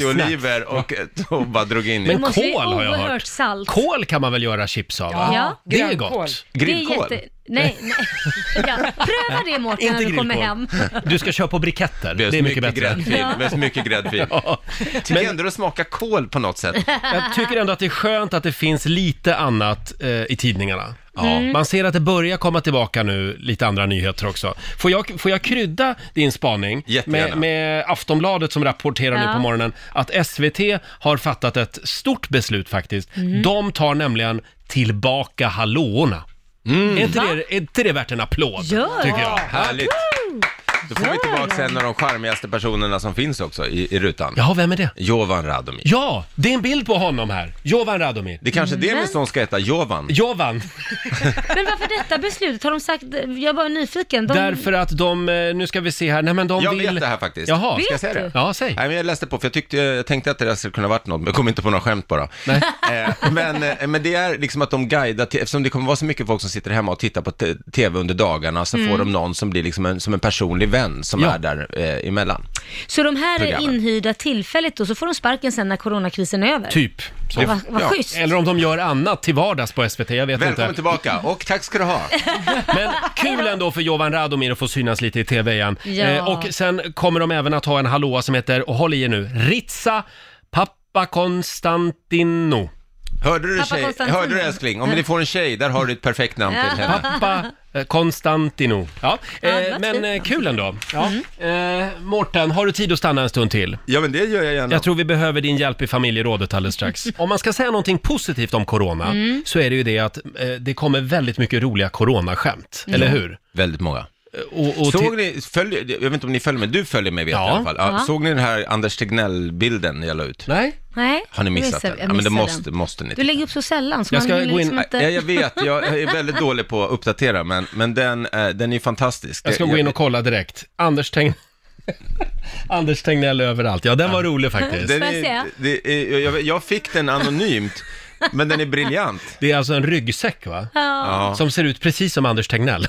Speaker 9: calamati-oliver och, eh, (laughs) och bara drog in i.
Speaker 1: Men
Speaker 2: måste ju
Speaker 1: kål har jag
Speaker 2: oerhört
Speaker 1: hört.
Speaker 2: Salt.
Speaker 1: Kål kan man väl göra chips av? va?
Speaker 9: Ah,
Speaker 2: Ja.
Speaker 1: Det är
Speaker 2: Grönkål.
Speaker 1: gott.
Speaker 2: (laughs) Det är jätte-
Speaker 9: (laughs)
Speaker 2: Nej, nej. Ja, pröva det Mårten när du kommer hem.
Speaker 1: Du ska köra på briketter, det är, mycket bättre.
Speaker 9: Gräddfil, med Typ. så mycket gräddfil. (laughs) Tycker
Speaker 1: Men-
Speaker 9: ändå det smakar kål på något sätt.
Speaker 1: (laughs) Jag tycker ändå att det är skönt att det finns lite annat eh, i tidningarna.
Speaker 9: Ja. Mm.
Speaker 1: Man ser att det börjar komma tillbaka nu, lite andra nyheter också. Får jag, får jag krydda din spaning med, med Aftonbladet som rapporterar nu
Speaker 2: Ja.
Speaker 1: på morgonen att SVT har fattat ett stort beslut faktiskt.
Speaker 2: Mm.
Speaker 1: De tar nämligen tillbaka hallåorna.
Speaker 9: Mm.
Speaker 1: Är, inte det, är inte det värt en applåd?
Speaker 2: Gör
Speaker 1: tycker
Speaker 2: det.
Speaker 1: jag.
Speaker 9: Härligt. Då får vi tillbaka en av de charmigaste personerna som finns också i, i rutan.
Speaker 1: Ja, vem är det?
Speaker 9: Jovan Radomir.
Speaker 1: Ja, det är en bild på honom här. Jovan Radomir.
Speaker 9: Det är kanske det
Speaker 2: Men-
Speaker 9: min son ska heta, Jovan.
Speaker 1: Jovan.
Speaker 2: Men varför detta beslutet? Har de sagt, jag var nyfiken. De...
Speaker 1: Därför att de, eh, nu ska vi se här, nej men de
Speaker 9: jag
Speaker 1: vill...
Speaker 9: vet det här faktiskt.
Speaker 1: Jaha.
Speaker 9: Ska jag
Speaker 2: Vet
Speaker 9: säga
Speaker 2: du?
Speaker 9: det?
Speaker 1: Ja, säg.
Speaker 9: Nej, men jag läste på, för jag, tyckte, jag tänkte att det där skulle kunna varit något, men jag kom inte på några skämt bara. (laughs) Eh, men, eh, men det är liksom att de guidar, till, eftersom det kommer vara så mycket folk som sitter hemma och tittar på t- tv under dagarna, så
Speaker 2: Mm.
Speaker 9: får de någon som blir liksom en, som en personlig vän som
Speaker 2: Ja.
Speaker 9: är där eh, emellan.
Speaker 2: Så de här är
Speaker 9: Programmet.
Speaker 2: inhyrda tillfälligt och så får de sparken sen när coronakrisen är över?
Speaker 1: Typ.
Speaker 2: Så. Vad- vad schysst.
Speaker 1: Eller om de gör annat till vardags på SVT, jag vet inte.
Speaker 9: Välkommen tillbaka, och tack ska du ha.
Speaker 1: Men kul ändå för Jovan Radomir att få synas lite i TV igen. Eh,
Speaker 2: Ja.
Speaker 1: och sen kommer de även att ha en hallåa som heter, och håll i er nu, Ritsa Pappa Konstantino.
Speaker 9: Hörde du,
Speaker 1: Pappa
Speaker 9: tjej,
Speaker 1: Konstantin.
Speaker 9: hörde du älskling? Om ni får en tjej, där har du ett perfekt namn till henne.
Speaker 1: Pappa Eh, Konstantino. Ja,
Speaker 10: Ja, det
Speaker 1: eh,
Speaker 10: var typ. Mm.
Speaker 1: men
Speaker 10: fint.
Speaker 1: eh, kul ändå. Ja. Eh, Mårten, har du tid att stanna en stund till?
Speaker 9: Ja, men det gör jag gärna.
Speaker 1: Jag tror vi behöver din hjälp i familjerådet
Speaker 2: (laughs)
Speaker 1: alldeles strax. om man ska säga någonting positivt om corona
Speaker 9: Mm.
Speaker 1: så är det ju det att eh, det kommer väldigt mycket roliga coronaskämt, eller
Speaker 9: Ja,
Speaker 1: hur? Eh,
Speaker 9: Väldigt många.
Speaker 1: Och, och
Speaker 9: såg
Speaker 1: till-
Speaker 9: ni, följ, jag vet inte om ni följer mig, du följer mig vet jag
Speaker 1: Ja.
Speaker 9: i alla fall. Ja,
Speaker 1: Ja.
Speaker 9: Såg ni den här Anders Tegnell-bilden jag la ut?
Speaker 1: Nej.
Speaker 2: Nej,
Speaker 9: Har ni
Speaker 2: jag
Speaker 9: missat
Speaker 2: missade-
Speaker 9: den?
Speaker 2: jag
Speaker 9: Ja, men det
Speaker 2: missade
Speaker 9: måste, måste ni
Speaker 2: Du lägger upp så sällan så
Speaker 9: Jag
Speaker 2: jag
Speaker 9: ska
Speaker 2: man hinner
Speaker 9: gå in,
Speaker 2: liksom inte...
Speaker 9: ja, jag vet, jag är
Speaker 2: (laughs)
Speaker 9: väldigt dålig på att uppdatera, men, men den, eh, den är ju fantastisk.
Speaker 1: Jag ska gå in och kolla direkt. Anders Tegn... (laughs) Anders Tegnell överallt. Ja, den var rolig faktiskt.
Speaker 9: Den är, det är, jag, jag fick den anonymt, men den är briljant.
Speaker 1: Det är alltså en ryggsäck va?
Speaker 2: Ja.
Speaker 1: Som ser ut precis som Anders Tegnell.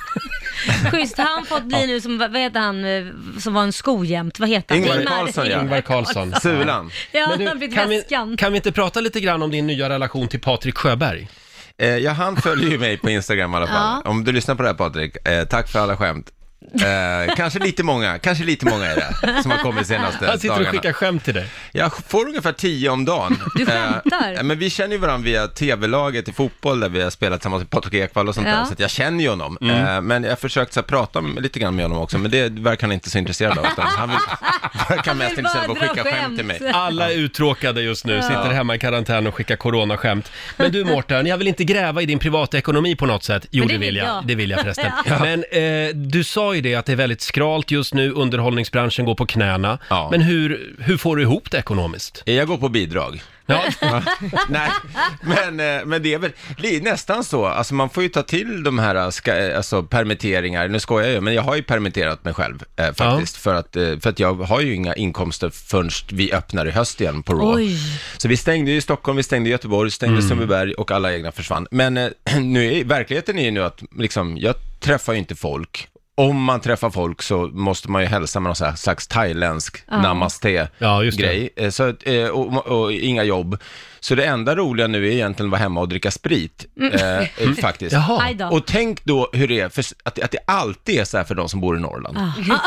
Speaker 2: Schysst, han fått bli nu som, vad heter han, eh, som var en sko jämt, vad heter han?
Speaker 1: (laughs) Ingvar Carlsson.
Speaker 9: Sulan.
Speaker 2: Ja,
Speaker 1: Men
Speaker 2: han
Speaker 1: du,
Speaker 2: har blivit
Speaker 1: kan vi-
Speaker 2: väskan.
Speaker 1: Kan vi inte prata lite grann om din nya relation till Patrik Sjöberg?
Speaker 9: Eh, ja, han följer ju mig på Instagram i alla fall. Om du lyssnar på det här Patrik, eh, tack för alla skämt. Eh, kanske lite många, kanske lite många är det, som har kommit senaste
Speaker 1: Han sitter och
Speaker 9: dagarna.
Speaker 1: skickar skämt till dig.
Speaker 9: Jag får ungefär tio om dagen. Du
Speaker 2: skämtar.
Speaker 9: Eh, men vi känner ju varandra via tv-laget i fotboll där vi har spelat tillsammans med Patrik Ekwall och sånt där,
Speaker 2: Ja.
Speaker 9: så att jag känner ju honom. Eh, men jag har försökt så här, prata med, lite grann med honom också, men det verkar han inte så intresserad av. Utan
Speaker 2: (laughs)
Speaker 9: han vill, verkar mest intresserad av att skicka skämt till mig.
Speaker 1: Alla är uttråkade just nu,
Speaker 9: Ja.
Speaker 1: sitter hemma i karantän och skickar coronaskämt. Men du Mårten, jag vill inte gräva i din privatekonomi på något sätt. Jo,
Speaker 10: Men
Speaker 1: det, vill jag. Det vill jag förresten.
Speaker 10: Ja.
Speaker 1: Men eh, du sa ju det att det är väldigt skralt just nu, underhållningsbranschen går på knäna. Men hur, hur får du ihop det ekonomiskt?
Speaker 9: Jag går på bidrag. Nej, men, eh, men det är väl det är nästan så. Alltså man får ju ta till de här eh, ska, eh, alltså, permitteringar. Nu skojar jag ju, men jag har ju permitterat mig själv eh, faktiskt. För, att, eh, för att jag har ju inga inkomster förrän vi öppnar i höst igen på Raw.
Speaker 10: Oj. Mm.
Speaker 9: Så vi stängde ju Stockholm, vi stängde Göteborg, stängde Sundbyberg och alla egna försvann. Men eh, (clears throat) nu är, verkligheten är ju nu att liksom, jag träffar ju inte folk. Om man träffar folk så måste man ju hälsa med någon så här slags thailändsk
Speaker 10: Ja.
Speaker 9: namaste
Speaker 1: Ja, just det.
Speaker 9: grej. Eh, Så, att, eh, och, och, och inga jobb. Så det enda roliga nu är egentligen att vara hemma och dricka sprit.
Speaker 10: Mm.
Speaker 9: Eh, eh,
Speaker 10: (laughs) Mm.
Speaker 9: faktiskt.
Speaker 10: Jaha. Aj då.
Speaker 9: Och tänk då hur det är, för, s- att, att det alltid är så här för de som bor i Norrland.
Speaker 1: Ooh.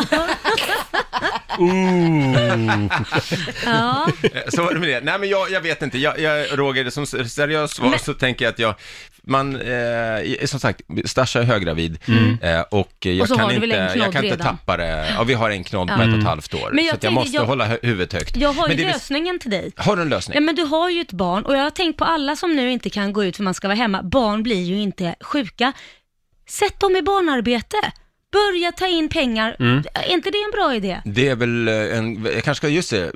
Speaker 2: Ja.
Speaker 9: Eh, Så var det med det. Nej men jag, jag vet inte, jag, jag, Roger, som s- seriöst svar så tänker jag att jag, man, eh, som sagt, Stasha är höggravid eh, och eh, jag
Speaker 2: Och så har
Speaker 9: kan,
Speaker 2: du väl
Speaker 9: inte,
Speaker 2: en knodd
Speaker 9: jag kan inte
Speaker 2: redan?
Speaker 9: tappa det. Ja, vi har en knodd på
Speaker 2: Ja.
Speaker 9: ett och ett halvt år,
Speaker 2: Men jag
Speaker 9: så att
Speaker 2: tänker,
Speaker 9: jag måste
Speaker 2: jag-
Speaker 9: hålla hö- huvudet högt.
Speaker 2: Jag har ju
Speaker 9: Men det är väl-
Speaker 2: lösningen till dig.
Speaker 9: Har du en lösning?
Speaker 2: Ja, men du har ju ett barn och jag har tänkt på alla som nu inte kan gå ut för man ska vara hemma. Barn blir ju inte sjuka. Sätt dem i barnarbete. Börja ta in pengar.
Speaker 9: Mm.
Speaker 2: Är inte det en bra idé?
Speaker 9: Det är väl eh, en, jag kanske ska, just det,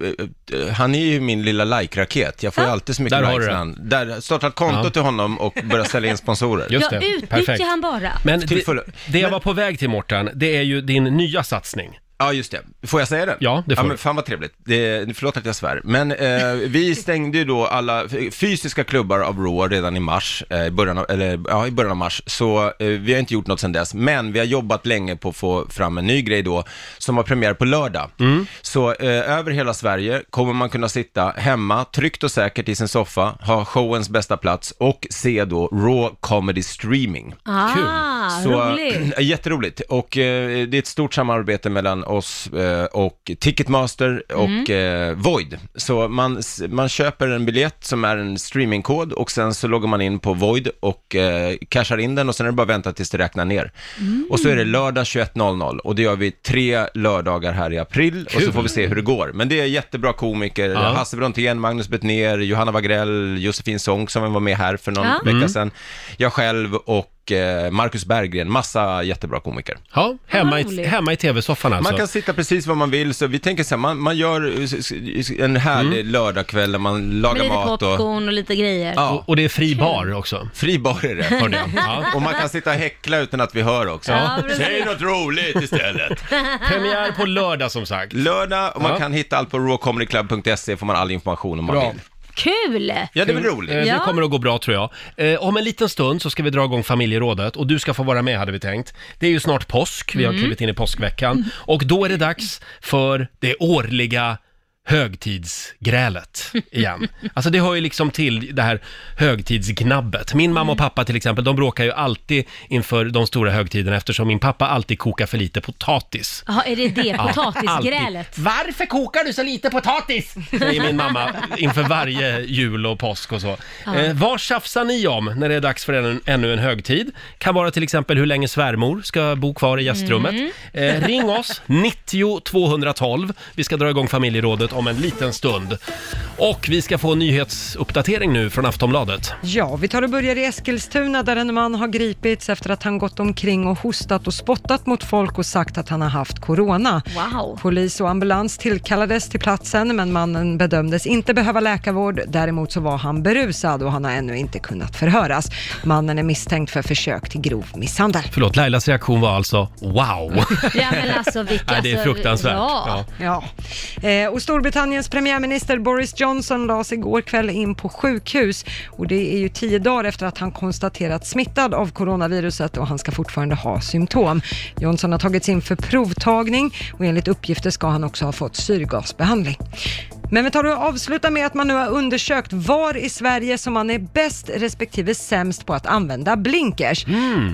Speaker 9: eh, eh, han är ju min lilla like-raket. Jag får ju alltid så mycket
Speaker 1: Där har
Speaker 9: likes
Speaker 1: du
Speaker 9: när
Speaker 1: den.
Speaker 9: han. Där, starta ett konto
Speaker 1: Ja.
Speaker 9: till honom och börja sälja
Speaker 1: (laughs)
Speaker 9: in sponsorer.
Speaker 2: ja, utnyttja han bara.
Speaker 1: Men
Speaker 9: Till
Speaker 1: det,
Speaker 9: fullo.
Speaker 1: det jag var på väg till Mårten, det är ju din nya satsning.
Speaker 9: Ja, just det. Får jag säga det?
Speaker 1: Ja, det får
Speaker 9: ja,
Speaker 1: du.
Speaker 9: men Fan vad trevligt. Det, förlåt att jag svär. Men eh, vi stängde ju då alla fysiska klubbar av Raw redan i mars, eh, i, början av, eller, ja, i början av mars. Så eh, vi har inte gjort något sedan dess, men vi har jobbat länge på att få fram en ny grej då, som har premiär på lördag. Så eh, över hela Sverige kommer man kunna sitta hemma, tryggt och säkert i sin soffa, ha showens bästa plats och se då Raw Comedy Streaming.
Speaker 2: Ah,
Speaker 9: Så, (clears throat)
Speaker 2: roligt.
Speaker 9: äh, Jätteroligt. Och eh, det är ett stort samarbete mellan oss eh, och Ticketmaster och
Speaker 2: Mm.
Speaker 9: eh, Void. Så man, s- man köper en biljett som är en streamingkod och sen så loggar man in på Void och eh, cashar in den och sen är det bara att vänta tills det räknar ner.
Speaker 10: Mm.
Speaker 9: Och så är det lördag 21.00 och det gör vi tre lördagar här i april och så
Speaker 10: Kul.
Speaker 9: får vi se hur det går. Men det är jättebra komiker,
Speaker 10: Ja.
Speaker 9: Hasse Brontén, Magnus Bettner, Johanna Wagrell, Josefin Sonck som var med här för någon
Speaker 10: Ja.
Speaker 9: vecka
Speaker 10: Mm.
Speaker 9: sedan. Jag själv och eh, Marcus Berggren, massa jättebra komiker.
Speaker 1: Ja, hemma
Speaker 9: Vad
Speaker 1: i,
Speaker 9: roligt.
Speaker 1: hemma i tv-soffan alltså.
Speaker 9: Man kan sitta precis var man vill, så vi tänker så här, man, man gör eh, s- s- en härlig lördagkväll när man
Speaker 2: Med
Speaker 9: lagar
Speaker 2: lite
Speaker 9: mat och...
Speaker 2: popcorn och lite grejer.
Speaker 9: Ja.
Speaker 1: Och det är fri bar också.
Speaker 9: Fri bar är det.
Speaker 2: Har det,
Speaker 1: ja.
Speaker 9: Och man kan
Speaker 2: (laughs)
Speaker 9: sitta och häckla utan att vi hör också.
Speaker 1: Ja, precis.
Speaker 9: Säg något roligt istället.
Speaker 1: Premiär på lördag som sagt.
Speaker 9: (laughs) Lördag, och man
Speaker 1: Ja.
Speaker 9: kan hitta allt på rawcomedyclub.se, får man all information om man
Speaker 1: Bra.
Speaker 9: vill.
Speaker 2: Kul!
Speaker 9: Ja, det är väl roligt.
Speaker 1: Eh, Det
Speaker 2: Ja.
Speaker 1: kommer att gå bra tror jag. Eh, Om en liten stund så ska vi dra igång familjerådet och du ska få vara med hade vi tänkt. Det är ju snart påsk, vi har
Speaker 10: Mm.
Speaker 1: klivit in i påskveckan och då är det dags för det årliga högtidsgrälet igen. Alltså det hör ju liksom till det här högtidsgnabbet. Min mamma och pappa till exempel, de bråkar ju alltid inför de stora högtiderna eftersom min pappa alltid kokar för lite potatis.
Speaker 2: Jaha, är det det?
Speaker 1: Ja,
Speaker 2: Potatisgrälet?
Speaker 1: Varför kokar du så lite potatis? Säger min mamma inför varje jul och påsk och så.
Speaker 2: Ja.
Speaker 1: Eh, vad tjafsar ni om när det är dags för en, ännu en högtid? Kan vara till exempel hur länge svärmor ska bo kvar i gästrummet.
Speaker 10: Mm.
Speaker 1: Eh, ring oss, 90 212. Vi ska dra igång familjerådet om en liten stund. Och vi ska få en nyhetsuppdatering nu från Aftonbladet.
Speaker 5: Ja, vi tar och börjar i Eskilstuna där en man har gripits efter att han gått omkring och hostat och spottat mot folk och sagt att han har haft corona.
Speaker 2: Wow.
Speaker 5: Polis och ambulans tillkallades till platsen men mannen bedömdes inte behöva läkarvård. Däremot så var han berusad och han har ännu inte kunnat förhöras. Mannen är misstänkt för försök till grov misshandel.
Speaker 1: Förlåt, Lailas reaktion var alltså wow.
Speaker 5: Ja, men alltså, vilka-
Speaker 1: Nej, det är fruktansvärt.
Speaker 5: Ja.
Speaker 1: Ja.
Speaker 5: ja. Eh, och Storbritanniens premiärminister Boris Johnson lades igår kväll in på sjukhus och det är ju tio dagar efter att han konstaterats smittad av coronaviruset och han ska fortfarande ha symptom. Johnson har tagits in för provtagning och enligt uppgifter ska han också ha fått syrgasbehandling. Men vi tar och avslutar med att man nu har undersökt var i Sverige som man är bäst respektive sämst på att använda blinkers.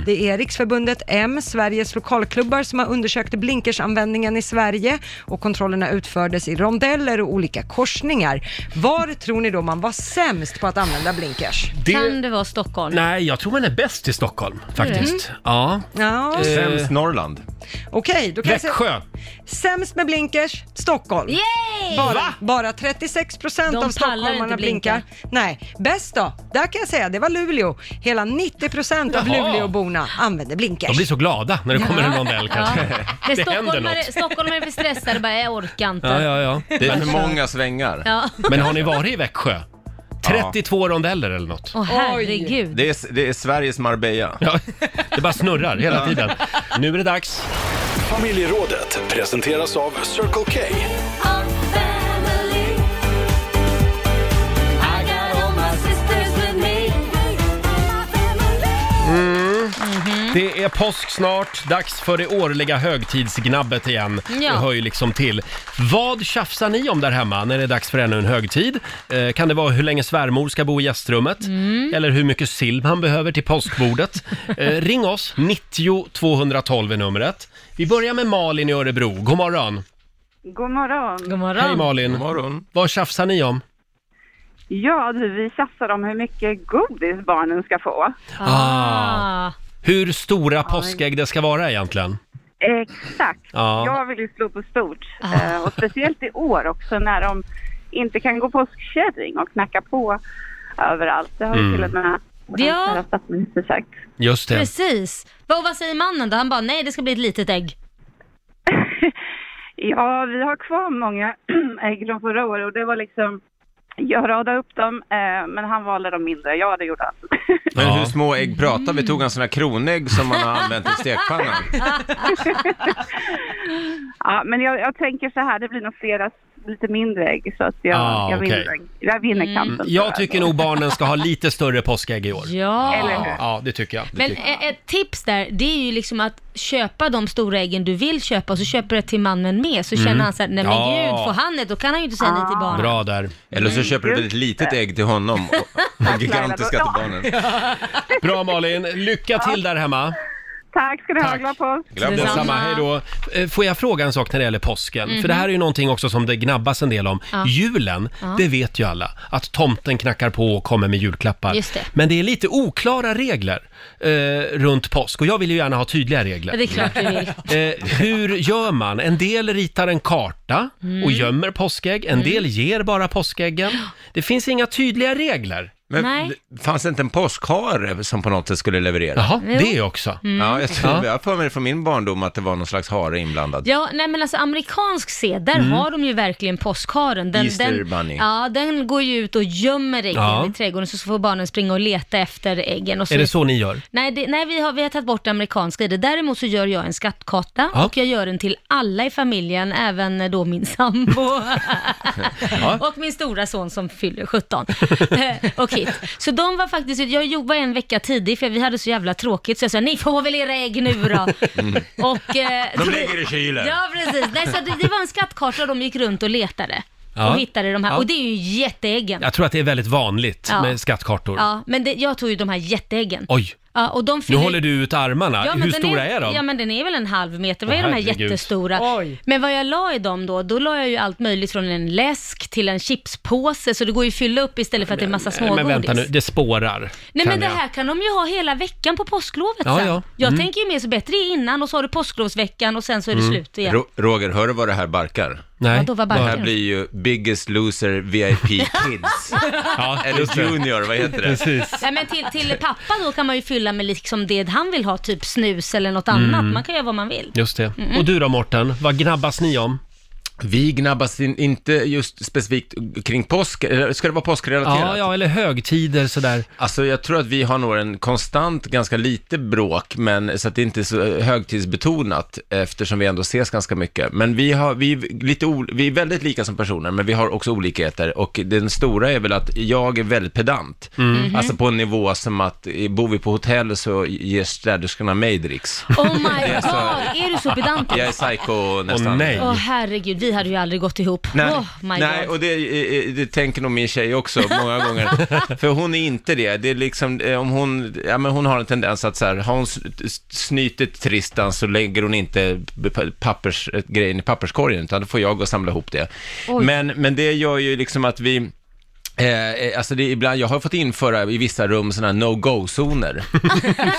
Speaker 5: Det är Riksförbundet M, Sveriges lokalklubbar, som har undersökt blinkersanvändningen i Sverige och kontrollerna utfördes i rondeller och olika korsningar. Var tror ni då man var sämst på att använda blinkers?
Speaker 1: Det- Kan
Speaker 5: det vara Stockholm?
Speaker 1: Nej, jag tror man är bäst i Stockholm faktiskt.
Speaker 5: Mm.
Speaker 1: Ja.
Speaker 5: Ja.
Speaker 9: Eh,
Speaker 5: Sämst
Speaker 1: Norrland.
Speaker 5: Okej, då kan jag
Speaker 1: Växjö.
Speaker 5: säga... Sämst med blinkers, Stockholm. Bara, bara 36 procent
Speaker 2: De
Speaker 5: av
Speaker 2: pallar
Speaker 5: stockholmarna
Speaker 2: inte blinka.
Speaker 5: blinkar. Nej, bäst då? Där kan jag säga, det var Luleå. Hela 90 procent av
Speaker 1: Jaha.
Speaker 5: Luleåborna använder blinkers.
Speaker 1: De blir så glada när det kommer en rondell kanske.
Speaker 2: Men
Speaker 1: Det händer
Speaker 2: stockholmare,
Speaker 1: något.
Speaker 2: stockholmare är för stressade bara, jag orkar inte.
Speaker 1: Ja, ja, ja.
Speaker 9: Det är för många
Speaker 1: svängar.
Speaker 2: Ja.
Speaker 1: Men har ni varit i Växjö? 32 rondeller eller något.
Speaker 2: Åh herregud.
Speaker 9: Det är, det är Sveriges Marbella.
Speaker 1: Ja, det bara snurrar hela
Speaker 9: Ja.
Speaker 1: tiden. Nu är det dags.
Speaker 11: Familjerådet presenteras av Circle K.
Speaker 1: Mm. Det är påsk snart, dags för det årliga högtidsgnabbet igen.
Speaker 2: Ja.
Speaker 1: Det hör ju liksom till. Vad tjafsar ni om där hemma när det är dags för ännu en högtid? Eh, kan det vara hur länge svärmor ska bo i gästrummet? Eller hur mycket sill man behöver till påskbordet? eh, ring oss, 90 212 är numret. Vi börjar med Malin i Örebro. God morgon!
Speaker 12: God morgon. God
Speaker 1: Hej Malin! Vad tjafsar ni om?
Speaker 12: Ja, du, vi tjafsar om hur mycket godis barnen ska få.
Speaker 1: Ah. Hur stora påskägg det ska vara egentligen?
Speaker 12: Exakt.
Speaker 1: Ja.
Speaker 12: Jag vill ju slå på stort. Eh, Och speciellt i år också när de inte kan gå påskkärring och knacka på överallt. Det har ju
Speaker 1: Mm.
Speaker 12: till och med
Speaker 2: Ja.
Speaker 12: vår förra statsminister sagt.
Speaker 1: Just det.
Speaker 2: Precis. Vad, vad säger mannen då? Han bara, nej det ska bli ett litet ägg.
Speaker 12: Ja, vi har kvar många (clears throat) ägg från förra året och det var liksom jag radade upp dem, eh, men han valde de mindre. Ja, det gjorde han.
Speaker 9: Men hur små ägg pratar vi? Tog han sådana kronägg som man har använt i stekpannan?
Speaker 12: (laughs) Ja, men jag, jag tänker så här, det blir nog flera lite mindre ägg så att jag,
Speaker 1: Ah,
Speaker 12: jag,
Speaker 1: okej.
Speaker 12: vinner, jag vinner kampen.
Speaker 1: Mm, jag tycker nog barnen ska ha lite större påskägg i år.
Speaker 2: Ja. Eller hur?
Speaker 1: Ja, det tycker jag. Det
Speaker 2: Men
Speaker 1: tycker
Speaker 2: ett, ett tips där, det är ju liksom att köpa de stora äggen du vill köpa och så köper du ett till mannen med. Så
Speaker 1: Mm. Ah.
Speaker 2: känner han så här, nej men
Speaker 9: Ja.
Speaker 2: gud, får han ett då kan han ju inte säga nej till barnen.
Speaker 1: Bra där.
Speaker 9: Eller så köper du ett väldigt litet ägg till honom och, och gigantiska till barnen.
Speaker 1: jag. Bra Malin, lycka till där hemma.
Speaker 12: Tack ska du ha, glad påsk!
Speaker 1: Detsamma, hej då. Eh, Får jag fråga en sak när det gäller påsken?
Speaker 12: Mhm.
Speaker 1: För det här är ju någonting också som det gnabbas en del om.
Speaker 12: Ja.
Speaker 1: Julen,
Speaker 12: Ja.
Speaker 1: det vet ju alla, att tomten knackar på och kommer med julklappar.
Speaker 2: Just det.
Speaker 1: Men det är lite oklara regler eh, runt påsk och jag vill ju gärna ha tydliga regler.
Speaker 2: Ja, det är klart du
Speaker 1: (laughs)
Speaker 2: vill.
Speaker 1: Eh, hur gör man? En del ritar en karta och
Speaker 2: Mm.
Speaker 1: gömmer påskägg, en del ger bara påskäggen. Det finns inga tydliga regler.
Speaker 9: Men
Speaker 2: Nej.
Speaker 9: fanns det inte en påskhare som på något sätt skulle leverera?
Speaker 1: Jaha, det också.
Speaker 2: Mm.
Speaker 9: Ja, jag tror-
Speaker 2: Ja.
Speaker 9: jag har för mig från min barndom att det var någon slags hare inblandad.
Speaker 2: Ja, nej men alltså amerikansk sed, där
Speaker 9: Mm.
Speaker 2: har de ju verkligen påskharen. Den,
Speaker 9: Easter
Speaker 2: den,
Speaker 9: bunny.
Speaker 2: Ja, den går ju ut och gömmer äggen
Speaker 1: Ja.
Speaker 2: i trädgården så får barnen springa och leta efter äggen. Och
Speaker 1: Är det så ni gör?
Speaker 2: Nej, det, nej vi, har, vi har tagit bort det amerikanska i det. Däremot så gör jag en skattkarta
Speaker 1: Ja.
Speaker 2: och jag gör den till alla i familjen, även eh, då min sambo och min stora son som fyller 17. Eh, och hit. Så de var faktiskt, jag jobbade en vecka tidig för vi hade så jävla tråkigt så jag sa ni får väl era ägg nu då. och, eh,
Speaker 9: De ligger i kylen.
Speaker 2: Ja, precis. Nej, så det, det var en skattkarta och de gick runt och letade.
Speaker 1: Ja.
Speaker 2: och hittade de här.
Speaker 1: Ja.
Speaker 2: Och det är ju jätteäggen.
Speaker 1: Jag tror att det är väldigt vanligt
Speaker 2: Ja.
Speaker 1: med skattkartor.
Speaker 2: Ja, men det, jag tog ju de här jätteäggen.
Speaker 1: Oj,
Speaker 2: Ja, och de
Speaker 1: nu
Speaker 2: fyller...
Speaker 1: håller du ut armarna.
Speaker 2: Ja, men
Speaker 1: Hur
Speaker 2: den
Speaker 1: stora är, de?
Speaker 2: Ja men den är väl en halv meter, vad
Speaker 1: Åh,
Speaker 2: är de här
Speaker 1: herregud.
Speaker 2: jättestora? Men vad jag la i dem då, då la jag ju allt möjligt från en läsk till en chipspåse, så det går ju att fylla upp istället för att det är massa
Speaker 1: Nej,
Speaker 2: smågodis.
Speaker 1: men vänta nu, det spårar.
Speaker 2: Nej men
Speaker 1: kan
Speaker 2: det
Speaker 1: jag.
Speaker 2: här kan de ju ha hela veckan på påsklovet
Speaker 1: Ja,
Speaker 2: sen.
Speaker 1: ja.
Speaker 2: Jag
Speaker 9: Mm.
Speaker 2: tänker ju mer så bättre är innan och så har du påsklovsveckan och sen så är det slut igen.
Speaker 9: Ro- Roger, hör du vad det här barkar?
Speaker 1: Mm. Nej.
Speaker 2: Vadå, vad barkar?
Speaker 9: Det här blir ju Biggest
Speaker 1: (laughs)
Speaker 9: Loser VIP Kids.
Speaker 1: Ja, just
Speaker 9: (laughs) Eller
Speaker 1: det.
Speaker 9: Junior, vad heter det?
Speaker 1: Precis.
Speaker 2: Nej men till, till pappa då kan man ju fylla med liksom det han vill ha, typ snus eller något
Speaker 1: Mm.
Speaker 2: annat. Man kan göra vad man vill.
Speaker 1: Just det.
Speaker 2: Mm.
Speaker 1: Och du då Morten, vad gnabbas ni om?
Speaker 9: Vi gnabbas in, inte just specifikt kring påsk, eller ska det vara påskrelaterat?
Speaker 1: Ja, ja, eller högtider sådär.
Speaker 9: Alltså jag tror att vi har nog en konstant ganska lite bråk, men så att det inte är så eh, högtidsbetonat eftersom vi ändå ses ganska mycket. Men vi, har, vi, är lite ol, vi är väldigt lika som personer, men vi har också olikheter och den stora är väl att jag är väldigt pedant.
Speaker 1: Mm.
Speaker 9: Alltså på en nivå som att eh, bor vi på hotell så ger städerskorna mig dricks.
Speaker 2: Oh my
Speaker 9: Det är så-
Speaker 2: god, är du så pedantisk?
Speaker 9: Jag är psycho nästan.
Speaker 2: Åh herregud, vi hade ju aldrig gått ihop.
Speaker 9: Mm. Nej,
Speaker 2: oh my
Speaker 9: nej
Speaker 2: god.
Speaker 9: och det, eh, eh, det tänker nog min tjej också många
Speaker 2: (laughs)
Speaker 9: gånger. För hon är inte det. Det är liksom, eh, om hon, ja men hon har en tendens att så här, har hon s- s- snytit Tristan så lägger hon inte b- p- pappers, eh, grejen i papperskorgen, utan då får jag gå och samla ihop det.
Speaker 10: Oj.
Speaker 9: Men, men det gör ju liksom att vi, Eh, eh, alltså det är ibland, jag har fått införa i vissa rum sådana här no-go-zoner.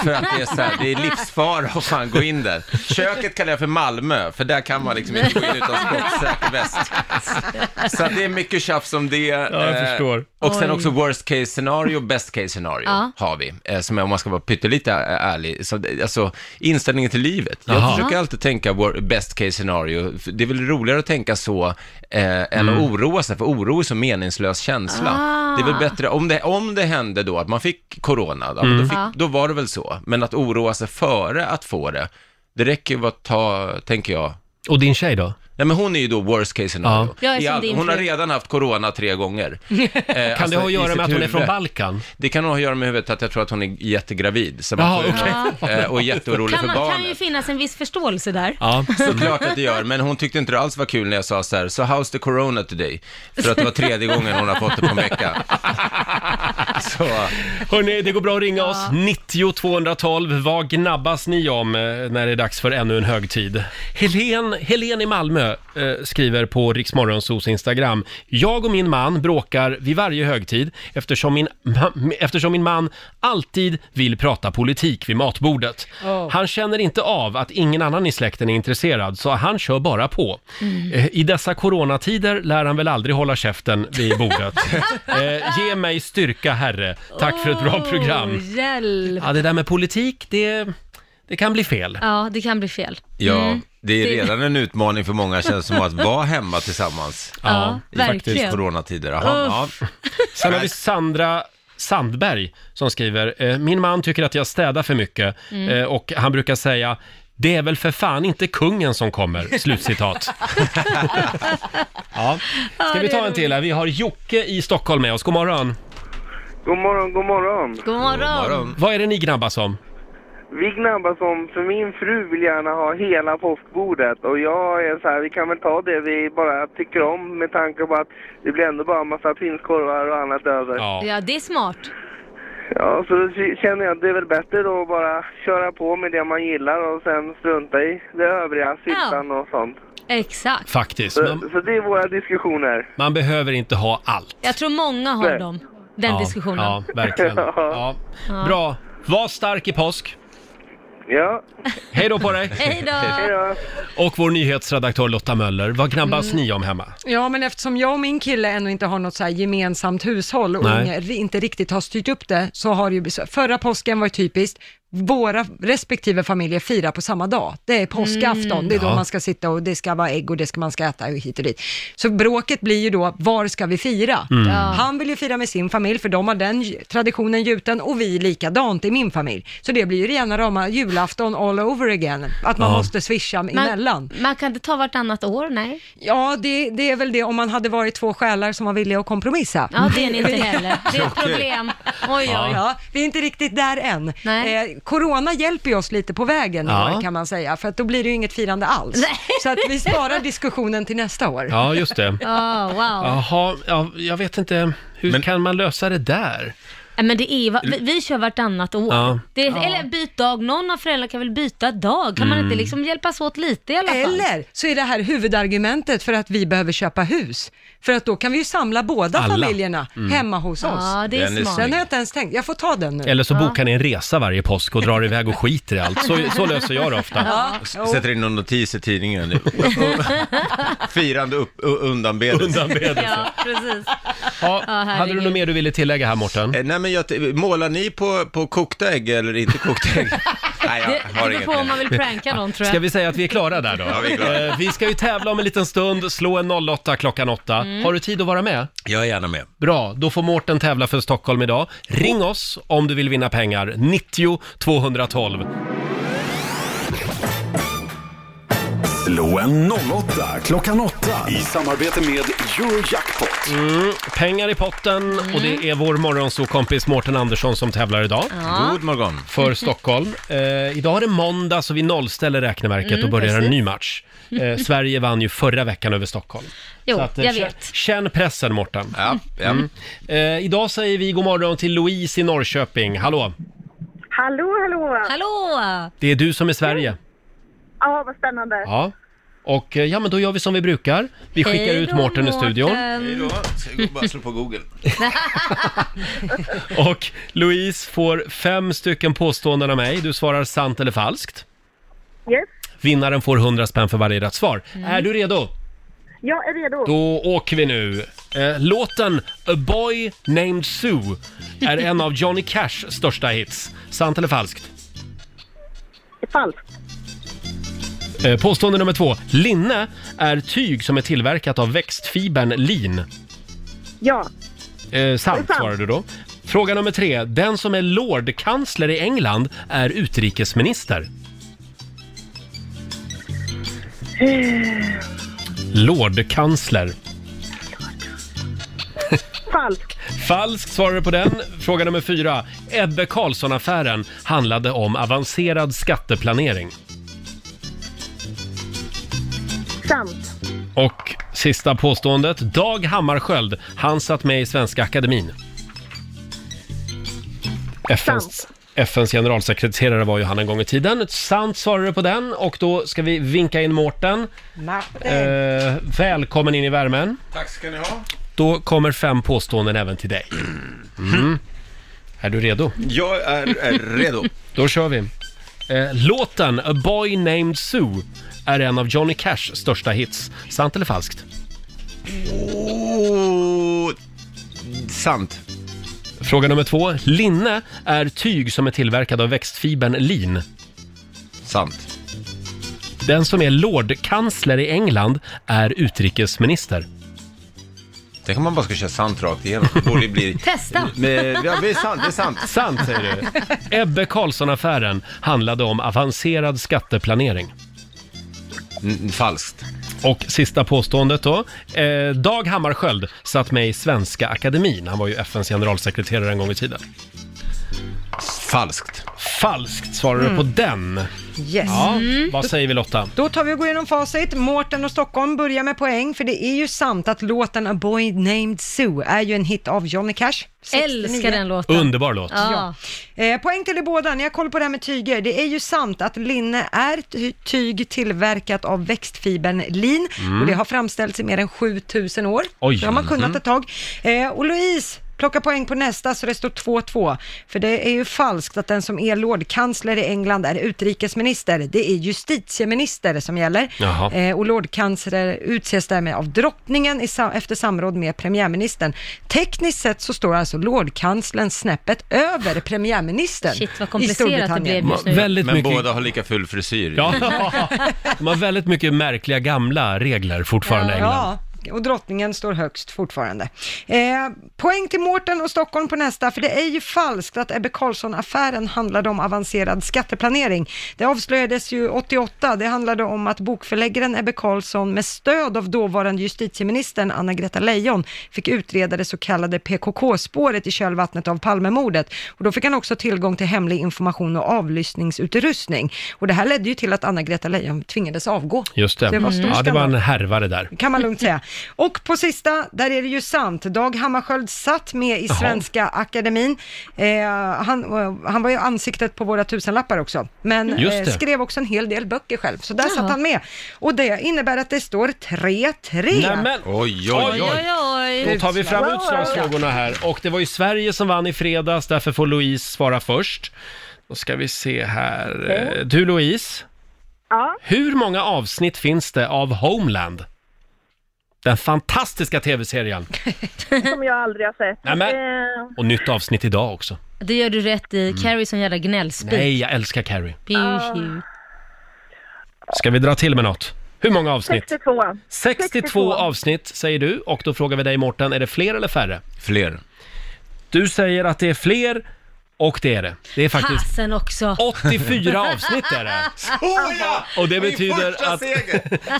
Speaker 9: för att det är så här, det är livsfara att fan gå in där. Köket kallar jag för Malmö, för där kan man liksom inte gå in utan skottsäker väst. Så att det är mycket tjafs om det. Ja,
Speaker 1: jag förstår.
Speaker 9: Eh, Och sen
Speaker 1: Oj.
Speaker 9: också worst case scenario och best case scenario
Speaker 1: Ja.
Speaker 9: har vi. Eh, som är, om man ska vara pyttelite eh, ärlig, så,
Speaker 2: (laughs)
Speaker 9: det- alltså inställningen till livet.
Speaker 1: Jaha.
Speaker 9: Jag försöker
Speaker 1: Ja.
Speaker 9: alltid tänka wor- best case scenario. För Det är väl roligare att tänka så eh, än
Speaker 1: Mm.
Speaker 9: att oroa sig, för oro är så meningslös känsla.
Speaker 1: Ah.
Speaker 9: Det är väl bättre, om det, om det hände då att man fick corona, då,
Speaker 1: Mm.
Speaker 9: då, fick,
Speaker 1: Ja.
Speaker 9: då var det väl så. Men att oroa sig före att få det, det räcker ju att ta, tänker jag,
Speaker 1: Och din tjej då?
Speaker 9: Nej men hon är ju då worst case scenario.
Speaker 1: Ja. Jag är
Speaker 9: I
Speaker 1: som
Speaker 9: allt-
Speaker 1: din
Speaker 9: hon har
Speaker 1: fru.
Speaker 9: redan haft corona tre gånger.
Speaker 1: Kan
Speaker 9: eh, alltså-
Speaker 1: det ha att göra med att hon är från Balkan?
Speaker 9: Det kan nog ha att göra med huvudet att jag tror att hon är jättegravid. Så
Speaker 1: Jaha,
Speaker 9: man får,
Speaker 2: okej.
Speaker 9: eh, och jätteorolig
Speaker 2: Kan,
Speaker 9: för
Speaker 2: man,
Speaker 9: barnet.
Speaker 2: kan ju finnas en viss förståelse där.
Speaker 1: Ja.
Speaker 9: Såklart att det gör, men hon tyckte inte det alls var kul när jag sa så här, so how's the corona today? För att det var tredje gången hon har fått det på en vecka. Så,
Speaker 1: Hörni, det går bra att ringa oss. 90 212. Vad gnabbas ni om eh, när det är dags för ännu en högtid? Helen, Helen i Malmö eh, skriver på Riksmorgonsos Instagram. Jag och min man bråkar vid varje högtid eftersom min, ma- eftersom min man alltid vill prata politik vid matbordet.
Speaker 10: Oh.
Speaker 1: Han känner inte av att ingen annan i släkten är intresserad så han kör bara på.
Speaker 10: Mm.
Speaker 1: Eh, I dessa coronatider lär han väl aldrig hålla käften
Speaker 10: (laughs)
Speaker 1: vid bordet. eh, ge mig styrka herre. Tack för ett (laughs) bra program.
Speaker 2: Åh, hjälp.
Speaker 1: Ja, det där med politik, det, det kan bli fel.
Speaker 2: Ja, det kan bli fel.
Speaker 9: ja,
Speaker 2: Mm.
Speaker 9: det är
Speaker 2: Det-
Speaker 9: redan en utmaning för många känns som att vara hemma tillsammans.
Speaker 2: Ja,
Speaker 9: I faktiskt
Speaker 2: verkligen.
Speaker 9: coronatider. Jaha, ja.
Speaker 1: Sen har vi Sandra Sandberg som skriver, eh, min man tycker att jag städar för mycket
Speaker 10: Mm.
Speaker 1: eh, och han brukar säga det är väl för fan inte kungen som kommer, slutcitat. ja. Ska
Speaker 10: Ja,
Speaker 1: vi
Speaker 10: det är
Speaker 1: ta en till här? Vi har Jocke i Stockholm med oss, god morgon.
Speaker 13: God morgon, god morgon.
Speaker 2: God
Speaker 1: Vad är det ni gnabbas om?
Speaker 13: Vi gnabbas om, för min fru vill gärna ha hela påskbordet och jag är så här, vi kan väl ta det vi bara tycker om med tanke på att det blir ändå bara en massa prinskorvar och annat över.
Speaker 2: Ja, det är smart.
Speaker 13: Ja, så då k- känner jag att det är väl bättre då att bara köra på med det man gillar och sen strunta i det övriga, syltan och sånt.
Speaker 2: Exakt.
Speaker 1: Faktiskt. Man,
Speaker 13: Så, så det är våra diskussioner.
Speaker 1: man behöver inte ha allt.
Speaker 2: Jag tror många har
Speaker 13: Nej.
Speaker 2: dem, den
Speaker 1: ja,
Speaker 2: diskussionen.
Speaker 1: Ja,
Speaker 13: (laughs)
Speaker 1: verkligen. Ja.
Speaker 2: Ja.
Speaker 1: Bra. Var stark i påsk.
Speaker 13: Ja.
Speaker 1: Hej då på dig.
Speaker 2: Hej då.
Speaker 9: (laughs)
Speaker 2: Hej
Speaker 13: då.
Speaker 1: Och vår nyhetsredaktör Lotta Möller, vad gnabbas
Speaker 5: Mm.
Speaker 1: ni om hemma?
Speaker 5: Ja, men eftersom jag och min kille ännu inte har något så här gemensamt hushåll och
Speaker 1: Nej.
Speaker 5: inga- inte riktigt har styrt upp det, så har det ju blivit så. Förra påsken var ju typiskt, våra respektive familjer firar på samma dag. Det är påskafton,
Speaker 10: Mm.
Speaker 5: det är då
Speaker 10: Ja.
Speaker 5: man ska sitta och det ska vara ägg och det ska man ska äta och hit och dit. Så bråket blir ju då, var ska vi fira?
Speaker 10: Mm. Ja.
Speaker 5: Han vill ju fira med sin familj, för de har den ju- traditionen gjuten och vi likadant i min familj. Så det blir ju rena rama julafton all over again, att man
Speaker 2: Ja.
Speaker 5: måste swisha emellan.
Speaker 2: Man kan inte ta vartannat år, nej.
Speaker 5: Ja, det, det är väl det om man hade varit två själar som var villiga att kompromissa.
Speaker 1: (laughs)
Speaker 2: Ja, det är ni inte heller. Det är ett
Speaker 5: Tråkigt.
Speaker 2: problem. Oj, oj, oj.
Speaker 5: Ja, vi är inte riktigt där än. Eh, corona hjälper ju oss lite på vägen i
Speaker 1: Ja.
Speaker 5: år kan man säga, för att då blir det ju inget firande alls. Så att vi sparar diskussionen till nästa år.
Speaker 1: Ja, just det.
Speaker 2: Oh, wow.
Speaker 1: Jaha, ja, jag vet inte. Hur kan man lösa det där?
Speaker 2: Nej, men det är, va- vi, vi kör vartannat år.
Speaker 1: Ja.
Speaker 2: Det är, Eller byt dag, någon av föräldrarna kan väl byta dag? Kan man
Speaker 5: Mm.
Speaker 2: inte liksom hjälpas åt lite i alla fall?
Speaker 5: Eller så är det här huvudargumentet för att vi behöver köpa hus. För att då kan vi ju samla båda
Speaker 1: Alla.
Speaker 5: familjerna
Speaker 1: Mm.
Speaker 5: hemma hos
Speaker 2: Ja,
Speaker 5: oss.
Speaker 1: det är Den är smart.
Speaker 5: Den har
Speaker 1: snygg.
Speaker 5: jag inte ens tänkt. Jag får ta den nu.
Speaker 1: Eller så bokar ni en resa varje påsk och drar iväg och skiter i allt. Så, så löser jag det ofta.
Speaker 5: Ja.
Speaker 9: S- Sätter in någon notis i tidningen.
Speaker 5: (laughs)
Speaker 9: Firande upp, undanbedelse.
Speaker 1: Undanbedelse.
Speaker 2: (laughs) Ja, precis.
Speaker 1: Ja, hade
Speaker 2: herregud.
Speaker 1: du något mer du ville tillägga här Mårten?
Speaker 9: Eh, nej men jag, t- målar ni på, på kokta ägg eller inte kokta ägg? nej, jag
Speaker 2: Det- det
Speaker 9: har
Speaker 2: beror
Speaker 9: inget
Speaker 2: på om
Speaker 9: mer.
Speaker 2: man vill pranka någon, tror jag.
Speaker 1: Ska vi säga att vi är klara där då?
Speaker 9: Ja, vi är klara.
Speaker 1: Eh, vi ska ju tävla om en liten stund, slå en 08 klockan 8.
Speaker 2: Mm.
Speaker 1: Har du tid att vara med?
Speaker 9: Jag är gärna med.
Speaker 1: Bra, då får Mårten tävla för Stockholm idag. Ring oss om du vill vinna pengar. 90 212.
Speaker 11: Slå en 08 klockan 8 i samarbete med Eurojackpot.
Speaker 1: Mm, pengar i potten och det är vår morgonsokompis Mårten Andersson som tävlar idag.
Speaker 2: Mm. Ja. God
Speaker 9: morgon.
Speaker 1: För Stockholm. Eh, idag är det måndag så vi nollställer räkneverket
Speaker 2: Mm,
Speaker 1: och börjar en
Speaker 2: precis.
Speaker 1: ny match. Eh, Sverige vann ju förra veckan över Stockholm.
Speaker 2: Jo,
Speaker 1: Så att, eh,
Speaker 2: jag
Speaker 1: kä-
Speaker 2: vet.
Speaker 1: Känn pressen Mårten.
Speaker 9: Ja, ja.
Speaker 1: Eh, idag säger vi god morgon till Louise i Norrköping. Hallå!
Speaker 6: Hallå, hallå!
Speaker 2: Hallå!
Speaker 1: Det är du som är Sverige.
Speaker 6: Ja, vad spännande.
Speaker 1: Ja. Och eh, ja, men då gör vi som vi brukar. Vi skickar
Speaker 6: Hej
Speaker 1: ut
Speaker 6: då,
Speaker 1: Mårten i studion.
Speaker 2: Mårten. Hej då.
Speaker 9: Ska jag gå- bara slå på Google.
Speaker 1: Och Louise får fem stycken påståenden av mig. Du svarar sant eller falskt.
Speaker 6: Yes.
Speaker 1: Vinnaren får 100 spänn för varje rätt svar.
Speaker 6: Mm.
Speaker 1: Är du redo?
Speaker 6: Jag är redo.
Speaker 1: Då åker vi nu. Eh, låten A Boy Named Sue är en av Johnny Cashs största hits. Sant eller falskt?
Speaker 6: Falskt.
Speaker 1: Eh, påstående nummer två. Linne är tyg som är tillverkat av växtfibern lin.
Speaker 6: Ja.
Speaker 1: Eh, sant
Speaker 6: Sant.
Speaker 1: svarade du då. Fråga nummer tre. Den som är lordkansler i England är utrikesminister.
Speaker 6: Eh,
Speaker 1: Lordkansler.
Speaker 6: Falskt.
Speaker 1: Falskt svarar du på den. Fråga nummer fyra. Ebbe Carlsson-affären handlade om avancerad skatteplanering.
Speaker 6: Sant.
Speaker 1: Och sista påståendet. Dag Hammarskjöld, han satt med i Svenska Akademin. FNs, FNs generalsekreterare var ju han en gång i tiden. Sant svarar du på den och då ska vi vinka in Mårten. Eh, välkommen in i värmen.
Speaker 9: Tack ska ni ha.
Speaker 1: Då kommer fem påståenden även till dig. Mm. Är du redo?
Speaker 9: Jag är, är redo.
Speaker 1: Då kör vi. Eh, låten A Boy Named Sue är en av Johnny Cashs största hits. Sant eller falskt?
Speaker 9: Oh, sant.
Speaker 1: Fråga nummer två. Linne är tyg som är tillverkad av växtfibern lin.
Speaker 9: Sant.
Speaker 1: Den som är lordkansler i England är utrikesminister.
Speaker 9: Tänk om man bara ska köra sant rakt igenom. Det borde ju bli...
Speaker 2: Testa!
Speaker 9: (laughs) Men, ja, det är sant, det är sant.
Speaker 1: Sant säger du. Ebbe Carlsson-affären handlade om avancerad skatteplanering.
Speaker 9: falskt.
Speaker 1: Och sista påståendet då. Eh, Dag Hammarskjöld satt med i Svenska Akademin. Han var ju FNs generalsekreterare en gång i tiden.
Speaker 9: Falskt.
Speaker 1: Falskt svarar du
Speaker 5: Mm.
Speaker 1: på den.
Speaker 5: Yes. Mm.
Speaker 1: Ja, vad säger vi Lotta?
Speaker 5: Då tar vi och går igenom facit. Mårten och Stockholm börjar med poäng, för det är ju sant att låten A Boy Named Sue är ju en hit av Johnny Cash. 69.
Speaker 2: Älskar den låten.
Speaker 1: Underbar låt.
Speaker 5: Ja. Eh, poäng till er båda, ni har koll på det här med tyger. Det är ju sant att linne är ty- tyg tillverkat av växtfibern lin
Speaker 10: Mm.
Speaker 5: och det har framställts i mer än 7000 år.
Speaker 10: Oj.
Speaker 5: Det har man kunnat
Speaker 10: Mhm.
Speaker 5: ett tag. Eh, och Louise, plocka poäng på nästa så det står 2-2. För det är ju falskt att den som är lordkansler i England är utrikesminister. Det är justitieminister som gäller.
Speaker 10: Jaha.
Speaker 5: Eh, och lordkansler utses därmed av drottningen i sa- efter samråd med premiärministern. Tekniskt sett så står alltså lordkanslern snäppet över premiärministern
Speaker 2: Shit, vad
Speaker 5: i
Speaker 2: komplicerat det
Speaker 5: Storbritannien.
Speaker 2: blev just nu. Väldigt
Speaker 9: Men
Speaker 1: mycket-
Speaker 9: båda har lika full frisyr.
Speaker 1: (laughs) Ja. De har väldigt mycket märkliga gamla regler fortfarande i England.
Speaker 5: Ja, och drottningen står högst fortfarande. Eh, poäng till Mårten och Stockholm på nästa, för det är ju falskt att Ebbe Carlsson-affären handlade om avancerad skatteplanering. Det avslöjades ju 88, det handlade om att bokförläggaren Ebbe Carlsson med stöd av dåvarande justitieministern Anna-Greta Leijon fick utreda det så kallade PKK-spåret i kölvattnet av Palmemordet. Och då fick han också tillgång till hemlig information och avlyssningsutrustning. Och det här ledde ju till att Anna-Greta Leijon tvingades avgå.
Speaker 1: Just det.
Speaker 5: Det var stor
Speaker 1: ja, det var
Speaker 5: skandal.
Speaker 1: en härvare där.
Speaker 5: kan man lugnt säga. Och på sista, där är det ju sant. Dag Hammarskjöld satt med i
Speaker 1: Jaha.
Speaker 5: Svenska Akademin. Eh, han, eh, han var ju ansiktet på våra tusenlappar också, men
Speaker 10: Just
Speaker 5: eh,
Speaker 10: det.
Speaker 5: skrev också en hel del böcker själv, så där
Speaker 2: Jaha.
Speaker 5: satt han med. Och det innebär att det står 3-3.
Speaker 1: Nämen!
Speaker 9: Oj,
Speaker 2: Oj, oj, oj.
Speaker 1: Då tar vi fram utslagsfrågorna här. Och det var ju Sverige som vann i fredags, därför får Louise svara först. Då ska vi se här. Eh, Du Louise,
Speaker 6: Ja.
Speaker 1: hur många avsnitt finns det av Homeland? Den fantastiska tv-serien.
Speaker 6: Som jag aldrig har sett.
Speaker 1: Nämen.
Speaker 6: Eh,
Speaker 1: Och nytt avsnitt idag också.
Speaker 2: Det gör du rätt i.
Speaker 1: Mm.
Speaker 2: Carrie som jävla gnällspik.
Speaker 1: Nej, jag älskar Carrie.
Speaker 5: Ah.
Speaker 2: Pew, pew.
Speaker 1: Ska vi dra till med något? Hur många avsnitt?
Speaker 6: 62.
Speaker 1: 62 avsnitt säger du och då frågar vi dig Mårten, är det fler eller färre?
Speaker 9: Fler.
Speaker 1: Du säger att det är fler och det är det. Det är faktiskt
Speaker 2: Fasen också.
Speaker 1: 84 avsnitt är det.
Speaker 9: Såja!
Speaker 1: Och det
Speaker 9: Min
Speaker 1: betyder
Speaker 9: första
Speaker 1: att
Speaker 9: seger!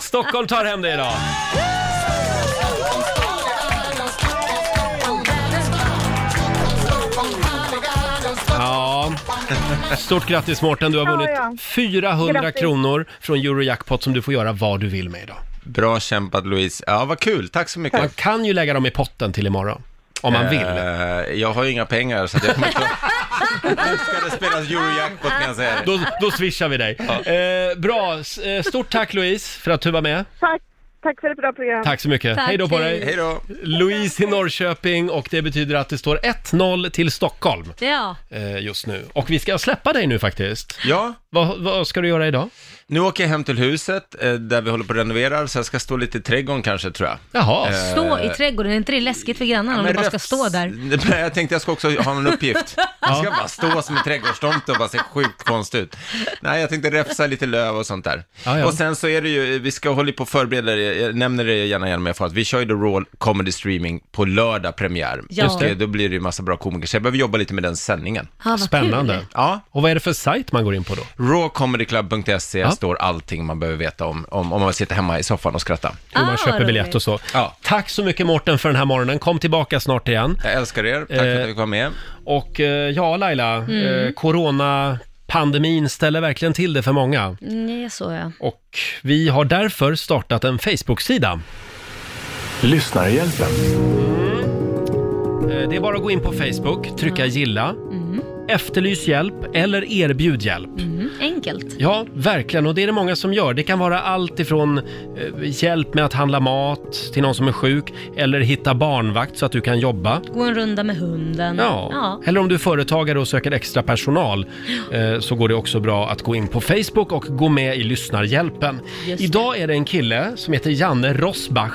Speaker 1: (laughs) Stockholm tar hem det idag. Ja, stort grattis Mårten, du har
Speaker 9: Ja,
Speaker 1: vunnit
Speaker 9: ja.
Speaker 1: 400
Speaker 9: Grattis.
Speaker 1: kronor från Eurojackpot som du får göra vad du vill med idag.
Speaker 9: Bra kämpat Louise. Ja, vad kul. Tack så mycket.
Speaker 1: Man kan ju lägga dem i potten till imorgon, om man vill.
Speaker 9: Eh, jag har ju inga pengar så att jag kommer inte... Nu ska det spelas Eurojackpot kan jag säga dig.
Speaker 1: Då, då swishar vi dig. Eh, bra, S- eh, stort tack Louise för att du var med.
Speaker 6: Tack. Tack för ett bra program.
Speaker 1: Tack så mycket. hej då på dig.
Speaker 9: Hej då.
Speaker 1: Louise i Norrköping och det betyder att det står 1-0 till Stockholm
Speaker 2: Ja.
Speaker 1: eh, just nu. Och vi ska släppa dig nu faktiskt.
Speaker 9: Ja.
Speaker 1: Vad, vad ska du göra idag?
Speaker 9: Nu åker jag hem till huset eh, där vi håller på att renovera, så jag ska stå lite i trädgården kanske tror jag.
Speaker 1: Jaha.
Speaker 9: Eh,
Speaker 2: Stå
Speaker 1: Eh,
Speaker 2: i trädgården, är inte det läskigt för grannarna om
Speaker 9: men
Speaker 2: du bara ska
Speaker 9: rätt-
Speaker 2: stå där?
Speaker 9: Nej, jag tänkte jag ska också ha en
Speaker 2: (laughs)
Speaker 9: uppgift. Jag ska
Speaker 2: Ja.
Speaker 9: bara stå som en trädgårdstomte och bara se sjukt konstig ut. Nej, jag tänkte räfsa lite löv och sånt där.
Speaker 1: Ja, ja.
Speaker 9: Och sen så är det ju, vi ska hålla på och förbereda det, jag nämner det gärna igen, men jag får att vi kör ju The Raw Comedy Streaming på lördag premiär.
Speaker 1: Ja. Just
Speaker 9: Och
Speaker 1: det.
Speaker 9: eh, då blir det ju massa bra komiker, så jag behöver jobba lite med den sändningen.
Speaker 1: Ja, Ah, vad Spännande. kul.
Speaker 9: Ja.
Speaker 1: Och vad är det för sajt man går in på då?
Speaker 9: Rawcomedyclub.se står allting man behöver veta om, om, om man sitter hemma i soffan och skrattar.
Speaker 1: Hur man köper biljett och så. Tack så mycket Mårten för den här morgonen. Kom tillbaka snart igen.
Speaker 9: Jag älskar er. Tack för att jag fick vara med.
Speaker 1: Och eh, ja, Laila,
Speaker 2: Mm.
Speaker 1: eh, coronapandemin ställer verkligen till det för många.
Speaker 2: Nej, så Mm, ja.
Speaker 1: Och vi har därför startat en Facebook-sida.
Speaker 11: Lyssnarhjälpen.
Speaker 1: Eh, Det är bara att gå in på Facebook, trycka gilla, efterlys hjälp eller erbjud hjälp.
Speaker 2: Mm, enkelt.
Speaker 1: Ja, verkligen. Och det är det många som gör. Det kan vara allt ifrån eh, hjälp med att handla mat till någon som är sjuk eller hitta barnvakt så att du kan jobba.
Speaker 2: Gå en runda med hunden.
Speaker 1: Ja. eller om du är företagare och söker extra personal eh, så går det också bra att gå in på Facebook och gå med i lyssnarhjälpen. Idag är det en kille som heter Janne Rosbach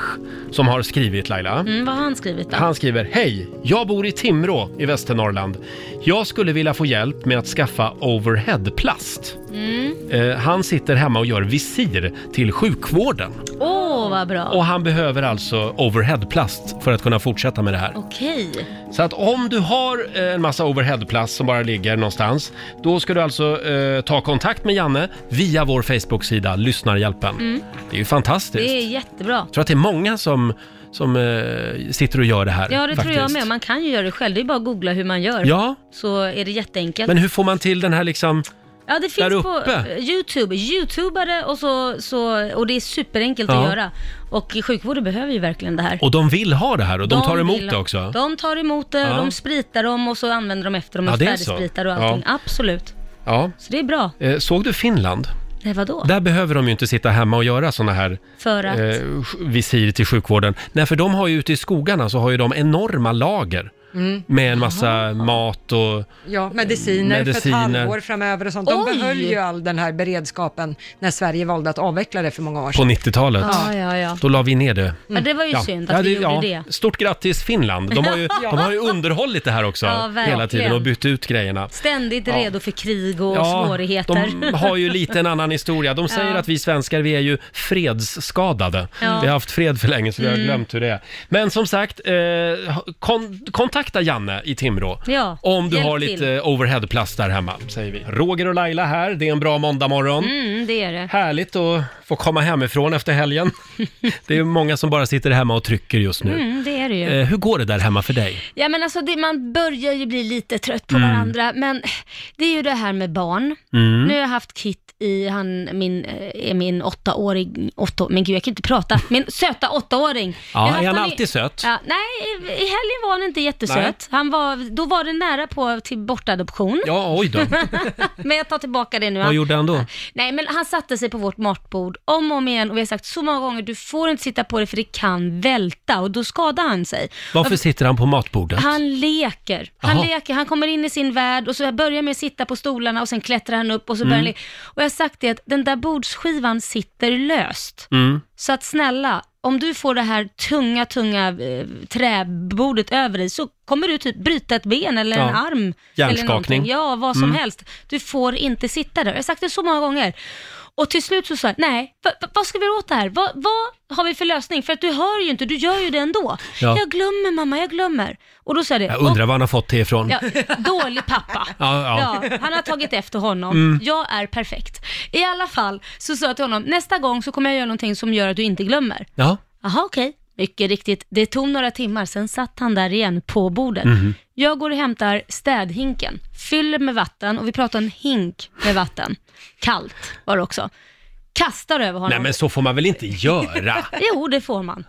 Speaker 1: som har skrivit Laila.
Speaker 2: Mm, vad har han skrivit då?
Speaker 1: Han skriver, hej, jag bor i Timrå i Västernorrland. Jag skulle vilja få hjälp med att skaffa overheadplast.
Speaker 2: Mm.
Speaker 1: Eh, han sitter hemma och gör visir till sjukvården.
Speaker 2: Åh, vad bra.
Speaker 1: Och han behöver alltså overheadplast för att kunna fortsätta med det här.
Speaker 2: Okej.
Speaker 1: Så att om du har eh, en massa overheadplast som bara ligger någonstans, då ska du alltså eh, ta kontakt med Janne via vår Facebook-sida Lyssnarhjälpen.
Speaker 2: Mm.
Speaker 1: Det är ju fantastiskt.
Speaker 2: Det är jättebra.
Speaker 1: Jag tror att det är många som, som eh, sitter och gör det här.
Speaker 2: Ja, det tror jag
Speaker 1: faktiskt.
Speaker 2: med. Man kan ju göra det själv. Det är bara att googla hur man gör.
Speaker 1: Ja.
Speaker 2: Så är det jätteenkelt.
Speaker 1: Men hur får man till den här liksom...
Speaker 2: Ja, det
Speaker 1: Där
Speaker 2: finns på
Speaker 1: uppe?
Speaker 2: eh, Youtube. Youtubare och så, så, och det är superenkelt
Speaker 1: Ja.
Speaker 2: att göra. Och sjukvården behöver ju verkligen det här.
Speaker 1: Och de vill ha det här och de, tar emot
Speaker 2: vill-
Speaker 1: det också.
Speaker 2: De tar emot det,
Speaker 1: Ja.
Speaker 2: de spritar dem och så använder de efter dem
Speaker 1: Ja,
Speaker 2: och
Speaker 1: det är så.
Speaker 2: färdigspritar och allting.
Speaker 1: Ja.
Speaker 2: Absolut.
Speaker 1: Ja.
Speaker 2: Så det är bra.
Speaker 1: Eh, Såg du Finland?
Speaker 2: Nej, vadå?
Speaker 1: Där Eh, behöver de ju inte sitta hemma och göra såna här
Speaker 2: För att?
Speaker 1: eh, visir till sjukvården. Nej, för de har ju ute i skogarna så har ju de enorma lager
Speaker 5: Mm.
Speaker 1: med en massa mat och...
Speaker 5: Ja, mediciner,
Speaker 1: Mediciner.
Speaker 5: för ett halvår framöver och sånt. De
Speaker 2: Oj!
Speaker 5: behöll ju all den här beredskapen när Sverige valde att avveckla det för många år
Speaker 1: På
Speaker 5: sedan.
Speaker 1: 90-talet.
Speaker 2: Ja, ja, ja.
Speaker 1: Då la vi ner det.
Speaker 2: Ja, det var
Speaker 1: Mm.
Speaker 2: ju synd att vi gjorde det.
Speaker 1: Stort grattis Finland. De har ju,
Speaker 2: (laughs) Ja.
Speaker 1: de har ju underhållit det här också
Speaker 2: Ja, verkligen.
Speaker 1: hela tiden och bytt ut grejerna.
Speaker 2: Ständigt
Speaker 1: Ja.
Speaker 2: redo för krig och
Speaker 1: Ja,
Speaker 2: svårigheter.
Speaker 1: De har ju lite en annan historia. De säger
Speaker 2: Ja.
Speaker 1: att vi svenskar, vi är ju fredsskadade.
Speaker 2: Ja.
Speaker 1: Vi har haft fred för länge så vi har
Speaker 2: Mm.
Speaker 1: glömt hur det är. Men som sagt, eh, kon kontakta Janne i Timrå.
Speaker 2: Ja,
Speaker 1: Om du
Speaker 2: hjälp
Speaker 1: har
Speaker 2: till.
Speaker 1: lite overheadplast där hemma, säger vi. Roger och Laila här, det är en bra måndagmorgon.
Speaker 2: Mm, det är det.
Speaker 1: Härligt att få komma hemifrån efter helgen. Det är många som bara sitter hemma och trycker just nu.
Speaker 2: Mm, det är det ju.
Speaker 1: Eh, hur går det där hemma för dig?
Speaker 2: Ja, men alltså det, man börjar ju bli lite trött på
Speaker 1: Mm.
Speaker 2: varandra, men det är ju det här med barn.
Speaker 1: Mm.
Speaker 2: Nu har jag haft Kit i, han, min, eh, är min åttaåring, åtta, men gud jag kan inte
Speaker 1: (laughs)
Speaker 2: prata, min söta åttaåring. Jag har
Speaker 1: Ja,
Speaker 2: haft
Speaker 1: är han
Speaker 2: honom i-
Speaker 1: alltid söt?
Speaker 2: alltså, Ja, nej, i helgen var han inte jättesöt.
Speaker 1: Nej.
Speaker 2: Han var, då var det nära på till bortadoption.
Speaker 1: Ja, oj då.
Speaker 2: (laughs) men jag tar tillbaka det nu.
Speaker 1: Vad
Speaker 2: Han-
Speaker 1: gjorde han då?
Speaker 2: Nej, men han satte sig på vårt matbord om och om igen och vi har sagt så många gånger, du får inte sitta på det för det kan välta och då skadar han sig.
Speaker 1: Varför sitter han på matbordet?
Speaker 2: Han leker. Han
Speaker 1: Jaha.
Speaker 2: leker, han kommer in i sin värld och så börjar med att sitta på stolarna och sen klättrar han upp och så börjar han
Speaker 1: Mm.
Speaker 2: leka. Och jag har sagt det att den där bordsskivan sitter löst.
Speaker 1: Mm.
Speaker 2: Så att snälla, om du får det här tunga, tunga eh, träbordet över dig så kommer du typ bryta ett ben eller en
Speaker 1: Ja.
Speaker 2: arm.
Speaker 1: Hjärnskakning.
Speaker 2: Eller någonting. ja, vad som
Speaker 1: Mm.
Speaker 2: helst. Du får inte sitta där. Jag har sagt det så många gånger. Och till slut så sa jag, nej, va, va, vad ska vi göra åt det här? Va, vad har vi för lösning? För att du hör ju inte, du gör ju det ändå.
Speaker 1: Ja.
Speaker 2: Jag glömmer mamma, jag glömmer. Och då sa jag det.
Speaker 1: Jag undrar var han har fått det ifrån.
Speaker 2: Ja, dålig pappa.
Speaker 1: (laughs) Ja, ja.
Speaker 2: han har tagit efter honom.
Speaker 1: Mm.
Speaker 2: Jag är perfekt. I alla fall så sa jag till honom, nästa gång så kommer jag göra någonting som gör att du inte glömmer.
Speaker 1: Ja.
Speaker 2: Jaha, okej. Mycket riktigt, det tog några timmar, sen satt han där igen på bordet.
Speaker 1: Mhm.
Speaker 2: Jag går och hämtar städhinken, fyller med vatten och vi pratar en hink med vatten. Kallt var det också. Kastar över honom.
Speaker 1: Nej men så får man väl
Speaker 2: (laughs)
Speaker 1: inte göra?
Speaker 2: Jo, det får man.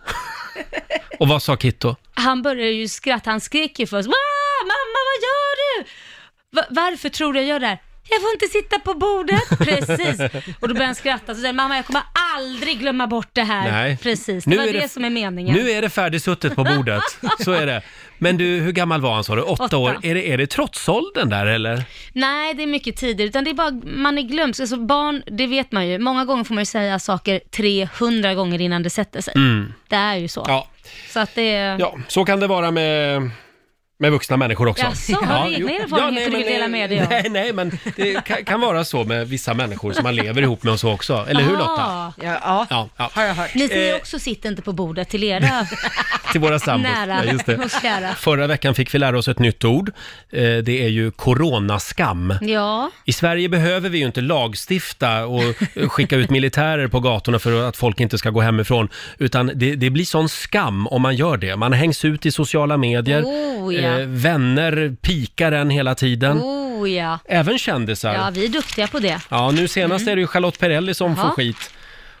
Speaker 1: Och vad sa Kitto?
Speaker 2: Han började ju skratta, han skrek ju först "Wah, “Mamma, vad gör du? Va- varför tror du jag gör det här?” “Jag får inte sitta på
Speaker 1: (laughs)
Speaker 2: bordet!” Precis! Och då började han skratta och sa “Mamma, jag kommer aldrig glömma bort det här!”
Speaker 1: Nej.
Speaker 2: Precis, det
Speaker 1: Nu
Speaker 2: var
Speaker 1: är
Speaker 2: det,
Speaker 1: det-
Speaker 2: som är meningen.
Speaker 1: Nu är det färdigsuttet på
Speaker 2: (laughs)
Speaker 1: bordet, så är det. Men du, hur gammal var han sa du? Åtta,
Speaker 2: Åtta.
Speaker 1: år? Är det, är det trotsåldern där eller?
Speaker 2: Nej, det är mycket tidigare, utan det är bara, man är glömsk. Alltså barn, det vet man ju, många gånger får man ju säga saker 300 gånger innan det sätter sig.
Speaker 1: Mm.
Speaker 2: Det är ju så.
Speaker 1: Ja.
Speaker 2: Så att det är...
Speaker 1: ja, så kan det vara med, med vuxna människor också.
Speaker 2: Jaså, har du egna
Speaker 1: jo.
Speaker 2: erfarenheter
Speaker 1: nej,
Speaker 2: du
Speaker 1: men,
Speaker 2: vill dela med dig av?
Speaker 1: (laughs) Nej, nej, men det kan, kan vara så med vissa människor som man lever ihop med och så också. Eller hur Lotta?
Speaker 2: Ah.
Speaker 1: Ja, ja.
Speaker 2: Ni som ju
Speaker 1: Eh,
Speaker 2: också sitter inte på bordet till
Speaker 1: (laughs)
Speaker 2: era
Speaker 1: till våra sambos.
Speaker 2: nära
Speaker 1: Ja, just det.
Speaker 2: och kära.
Speaker 1: Förra veckan fick vi lära oss ett nytt ord. Eh, Det är ju coronaskam.
Speaker 2: Ja,
Speaker 1: I Sverige behöver vi ju inte
Speaker 2: (laughs)
Speaker 1: lagstifta och eh, skicka ut militärer på gatorna för att folk inte ska gå hemifrån. Utan det, det blir sån skam om man gör det. Man hängs ut i sociala medier, Eh,
Speaker 2: Oh, ja.
Speaker 1: vänner pikar en hela tiden.
Speaker 2: oh ja.
Speaker 1: Även kändisar.
Speaker 2: Ja,
Speaker 1: Ja,
Speaker 2: vi är duktiga på det.
Speaker 1: nu senast är det ju Charlotte Perrelli som
Speaker 2: Mm. Jaha.
Speaker 1: får skit.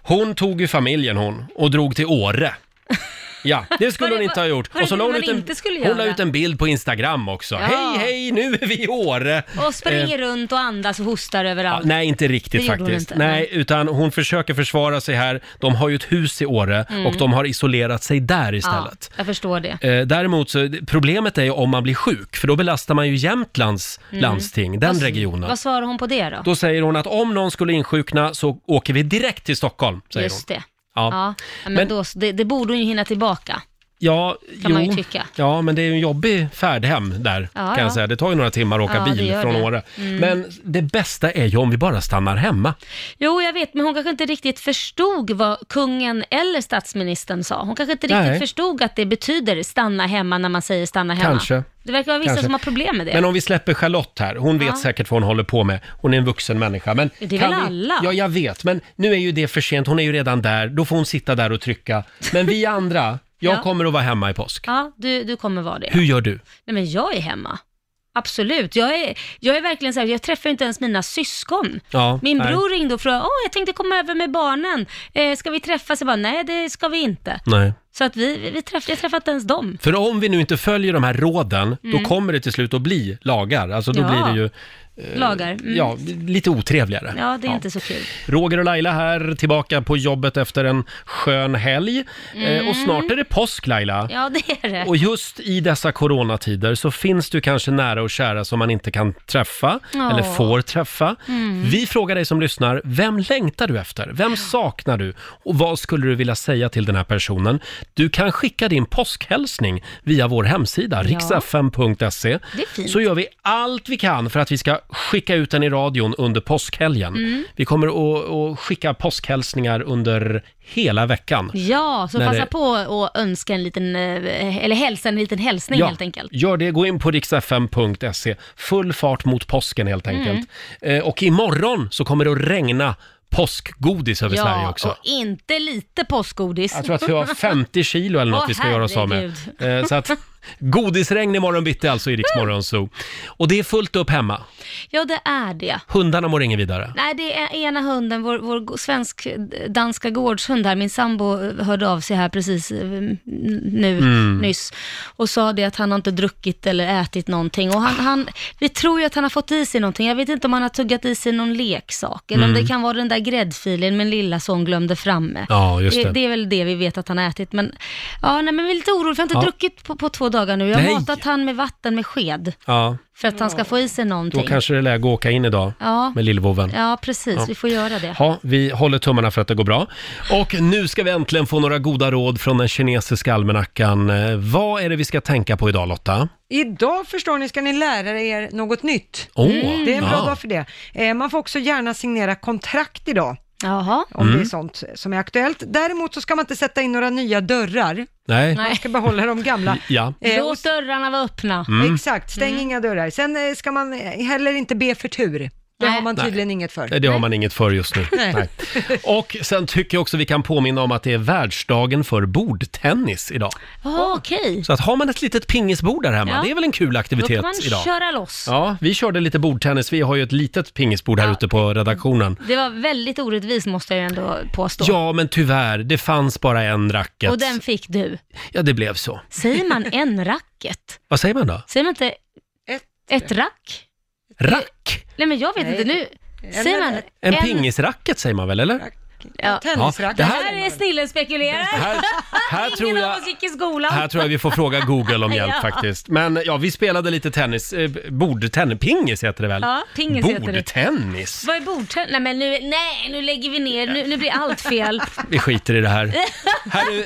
Speaker 1: Hon tog ju familjen hon och drog till Åre.
Speaker 2: (laughs)
Speaker 1: Ja, det skulle
Speaker 2: Var det-
Speaker 1: hon inte ha gjort.
Speaker 2: var det
Speaker 1: la
Speaker 2: det
Speaker 1: hon,
Speaker 2: man
Speaker 1: ut en,
Speaker 2: inte skulle
Speaker 1: hon la
Speaker 2: göra?
Speaker 1: ut en bild på Instagram också.
Speaker 2: Ja.
Speaker 1: Hej, hej, nu är vi i Åre!
Speaker 2: Och springer
Speaker 1: Eh,
Speaker 2: runt och andas och hostar överallt.
Speaker 1: Nej, inte
Speaker 2: Det
Speaker 1: riktigt
Speaker 2: gjorde hon
Speaker 1: faktiskt.
Speaker 2: inte,
Speaker 1: Nej,
Speaker 2: nej.
Speaker 1: utan hon försöker försvara sig här. De har ju ett hus i Åre
Speaker 2: Mm.
Speaker 1: och de har isolerat sig där istället.
Speaker 2: Ja, jag förstår det.
Speaker 1: Eh, Däremot så, problemet är ju om man blir sjuk, för då belastar man ju Jämtlands
Speaker 2: Mm.
Speaker 1: landsting, den
Speaker 2: Vad-
Speaker 1: regionen.
Speaker 2: Vad svarar hon på det då?
Speaker 1: Då säger hon att om någon skulle insjukna så åker vi direkt till Stockholm, säger
Speaker 2: Just
Speaker 1: hon.
Speaker 2: det.
Speaker 1: Ja.
Speaker 2: Ja. men,
Speaker 1: Men-
Speaker 2: då, det, det borde hon ju hinna tillbaka.
Speaker 1: Ja,
Speaker 2: Kan man ju
Speaker 1: jo.
Speaker 2: tycka.
Speaker 1: Ja, men det är ju en jobbig färd hem där,
Speaker 2: Ja,
Speaker 1: kan
Speaker 2: ja.
Speaker 1: jag säga. Det tar ju några timmar att åka
Speaker 2: Ja, det
Speaker 1: bil
Speaker 2: gör
Speaker 1: från
Speaker 2: det.
Speaker 1: Åre.
Speaker 2: Mm.
Speaker 1: Men det bästa är ju om vi bara stannar hemma.
Speaker 2: Jo, jag vet, men hon kanske inte riktigt förstod vad kungen eller statsministern sa. Hon kanske inte riktigt
Speaker 1: Nej.
Speaker 2: förstod att det betyder stanna hemma när man säger stanna hemma.
Speaker 1: Kanske.
Speaker 2: Det verkar vara vissa
Speaker 1: Kanske.
Speaker 2: som har problem med det.
Speaker 1: Men om vi släpper Charlotte här, hon vet
Speaker 2: Ja.
Speaker 1: säkert vad hon håller på med. Hon är en vuxen människa. Men
Speaker 2: Det är
Speaker 1: kan
Speaker 2: väl
Speaker 1: vi...
Speaker 2: alla?
Speaker 1: Ja, jag vet. Men nu är ju det för sent. Hon är ju redan där. Då får hon sitta där och trycka. Men vi andra, jag
Speaker 2: (laughs) Ja.
Speaker 1: kommer att vara hemma i påsk.
Speaker 2: Ja, du, du kommer vara det.
Speaker 1: Hur gör du?
Speaker 2: Nej men jag är hemma. Absolut. Jag är, jag är verkligen så här, jag träffar ju inte ens mina syskon.
Speaker 1: Ja,
Speaker 2: Min
Speaker 1: nej.
Speaker 2: bror ringde och frågade, åh jag tänkte komma över med barnen. Eh, ska vi träffas? Jag bara, nej det ska vi inte.
Speaker 1: Nej.
Speaker 2: Så att vi, vi, vi träff, jag träffade inte ens dem.
Speaker 1: För om vi nu inte följer de här råden, då
Speaker 2: Mm.
Speaker 1: kommer det till slut att bli lagar. Alltså då
Speaker 2: Ja.
Speaker 1: blir det ju
Speaker 2: Lagar. Mm.
Speaker 1: Eh, ja, lite otrevligare.
Speaker 2: Ja, det är inte så kul.
Speaker 1: Roger och Laila här, tillbaka på jobbet efter en skön helg. Eh,
Speaker 2: Mm.
Speaker 1: och snart är det påsk Laila.
Speaker 2: Ja, det är det.
Speaker 1: Och just i dessa coronatider så finns det ju kanske nära och kära som man inte kan träffa
Speaker 2: Ja.
Speaker 1: eller får träffa.
Speaker 2: Mm.
Speaker 1: Vi frågar dig som lyssnar, vem längtar du efter? Vem saknar du? Och vad skulle du vilja säga till den här personen? Du kan skicka din påskhälsning via vår hemsida,
Speaker 2: Ja.
Speaker 1: riksfm.se.
Speaker 2: Det är fint.
Speaker 1: E. Så gör vi allt vi kan för att vi ska skicka ut den i radion under påskhelgen.
Speaker 2: Mm.
Speaker 1: Vi kommer att, att skicka påskhälsningar under hela veckan.
Speaker 2: Ja, så
Speaker 1: När
Speaker 2: passa
Speaker 1: det-
Speaker 2: på och önska en liten, eh, eller hälsa en liten hälsning helt enkelt.
Speaker 1: Gör det, gå in på riksfm.se. Full fart mot påsken helt
Speaker 2: Mm.
Speaker 1: enkelt. Eh, och imorgon så kommer det att regna påskgodis över Sverige
Speaker 2: Ja,
Speaker 1: också.
Speaker 2: och inte lite påskgodis.
Speaker 1: Jag tror att vi har 50 kilo eller något
Speaker 2: Åh,
Speaker 1: vi ska göra oss av med.
Speaker 2: herregud.
Speaker 1: Eh, så att godisregn imorgon bitti alltså i Rix Morgon Zoo. Och det är fullt upp hemma.
Speaker 2: Ja, det är det.
Speaker 1: Hundarna mår inget vidare.
Speaker 2: Nej, det är ena hunden, vår, vår svensk-danska gårdshund här, min sambo eh, hörde av sig här precis eh, nu,
Speaker 10: Mm.
Speaker 2: nyss, och sa det att han har inte druckit eller ätit någonting. Och han, han, vi tror ju att han har fått i sig någonting, jag vet inte om han har tuggat i sig någon leksak, eller om
Speaker 10: Mm.
Speaker 2: det kan vara den där gräddfilen min lilla son glömde framme.
Speaker 10: Ja, just det.
Speaker 2: det är väl det vi vet att han har ätit, men, ja, nej, men vi är lite oroliga, för jag har inte
Speaker 1: Ja.
Speaker 2: druckit på, på två dagar nu. Jag har
Speaker 1: Nej.
Speaker 2: matat han med vatten med sked,
Speaker 1: Ja,
Speaker 2: för att han ska få i sig
Speaker 1: då
Speaker 2: någonting.
Speaker 1: kanske det är läge att åka in idag
Speaker 2: Ja.
Speaker 1: med lillvovven.
Speaker 2: Ja, precis.
Speaker 1: Ja.
Speaker 2: Vi får göra det.
Speaker 1: Ja, vi håller tummarna för att det går bra. Och nu ska vi äntligen få några goda råd från den kinesiska almanackan. Eh, Vad är det vi ska tänka på idag Lotta?
Speaker 5: Idag förstår ni ska ni lära er något nytt. Mm.
Speaker 1: Åh,
Speaker 5: det är en bra
Speaker 1: ja.
Speaker 5: dag för det. Eh, man får också gärna signera kontrakt idag. Om
Speaker 1: Mm.
Speaker 5: det är sånt som är aktuellt. Däremot så ska man inte sätta in några nya dörrar.
Speaker 1: Nej.
Speaker 5: Man ska behålla de gamla.
Speaker 1: Ja.
Speaker 2: Låt Eh, dörrarna vara öppna.
Speaker 1: Mm.
Speaker 5: Exakt, stäng inga dörrar. Sen eh, ska man eh, heller inte be för tur. Det har man
Speaker 1: Nej.
Speaker 5: tydligen inget för.
Speaker 1: Nej, det har man inget för just nu.
Speaker 5: Nej.
Speaker 1: Nej. Och sen tycker jag också vi kan påminna om att det är världsdagen för bordtennis idag.
Speaker 2: Oh, Okej.
Speaker 1: Så att har man ett litet pingisbord där hemma,
Speaker 2: Ja.
Speaker 1: det är väl en kul
Speaker 2: Då
Speaker 1: aktivitet
Speaker 2: kan man
Speaker 1: idag.
Speaker 2: köra loss.
Speaker 1: Ja, vi körde lite bordtennis. Vi har ju ett litet pingisbord här ute på redaktionen.
Speaker 2: Det var väldigt orättvist måste jag ju ändå påstå.
Speaker 1: Ja, men tyvärr, det fanns bara en racket.
Speaker 2: Och den fick du.
Speaker 1: Ja, det blev så.
Speaker 2: Säger man en racket?
Speaker 1: Vad säger man då?
Speaker 2: Säger man inte ett, rack?
Speaker 1: Rack?
Speaker 2: Nej men jag vet inte nu. Säger man
Speaker 1: En pingisracket säger man väl, eller?
Speaker 2: Ja.
Speaker 1: tennisracket. Ja, det
Speaker 2: det
Speaker 1: här-
Speaker 2: här är snillen spekulerar. (laughs)
Speaker 1: Här- här
Speaker 2: Ingen
Speaker 1: tror jag-
Speaker 2: av oss gick i skolan.
Speaker 1: Här tror jag vi får fråga Google om hjälp
Speaker 2: (laughs) Ja.
Speaker 1: faktiskt. Men ja, vi spelade lite tennis, eh, bordtennis, pingis heter det väl?
Speaker 2: Ja, pingis heter det.
Speaker 1: Bordtennis.
Speaker 2: Vad är bordtennis? Nej men nu, nej, nu lägger vi ner, nu, nu blir allt fel.
Speaker 1: Vi skiter i
Speaker 2: (laughs)
Speaker 1: det här. Här är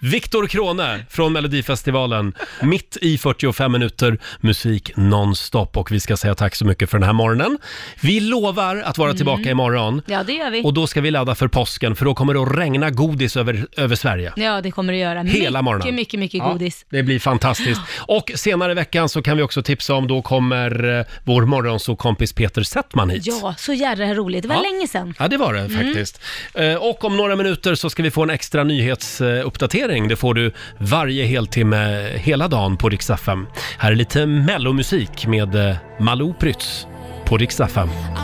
Speaker 1: Viktor Krone från Melodifestivalen. Mitt i 45 minuter musik nonstop och vi ska säga tack så mycket för den här morgonen. Vi lovar att
Speaker 2: Mm.
Speaker 1: vara tillbaka imorgon.
Speaker 2: Ja det gör vi.
Speaker 1: Och då ska vi ladda för påsken för då kommer det att regna godis över, över Sverige.
Speaker 2: Ja det kommer det göra.
Speaker 1: Hela
Speaker 2: mycket,
Speaker 1: morgonen.
Speaker 2: Mycket, mycket,
Speaker 1: Ja,
Speaker 2: godis.
Speaker 1: det blir fantastiskt. Och senare i veckan så kan vi också tipsa om, då kommer eh, vår morgonsåkompis Peter Settman hit.
Speaker 2: Ja, så jävla roligt. Det var
Speaker 1: Ja.
Speaker 2: länge sedan.
Speaker 1: Ja, det var det
Speaker 2: Mm.
Speaker 1: faktiskt. Eh, Och om några minuter så ska vi få en extra nyhetsuppdatering. Det får du varje heltimme hela dagen på Rix FM. Här är lite mellomusik med eh, Malou Prytz på Rix FM.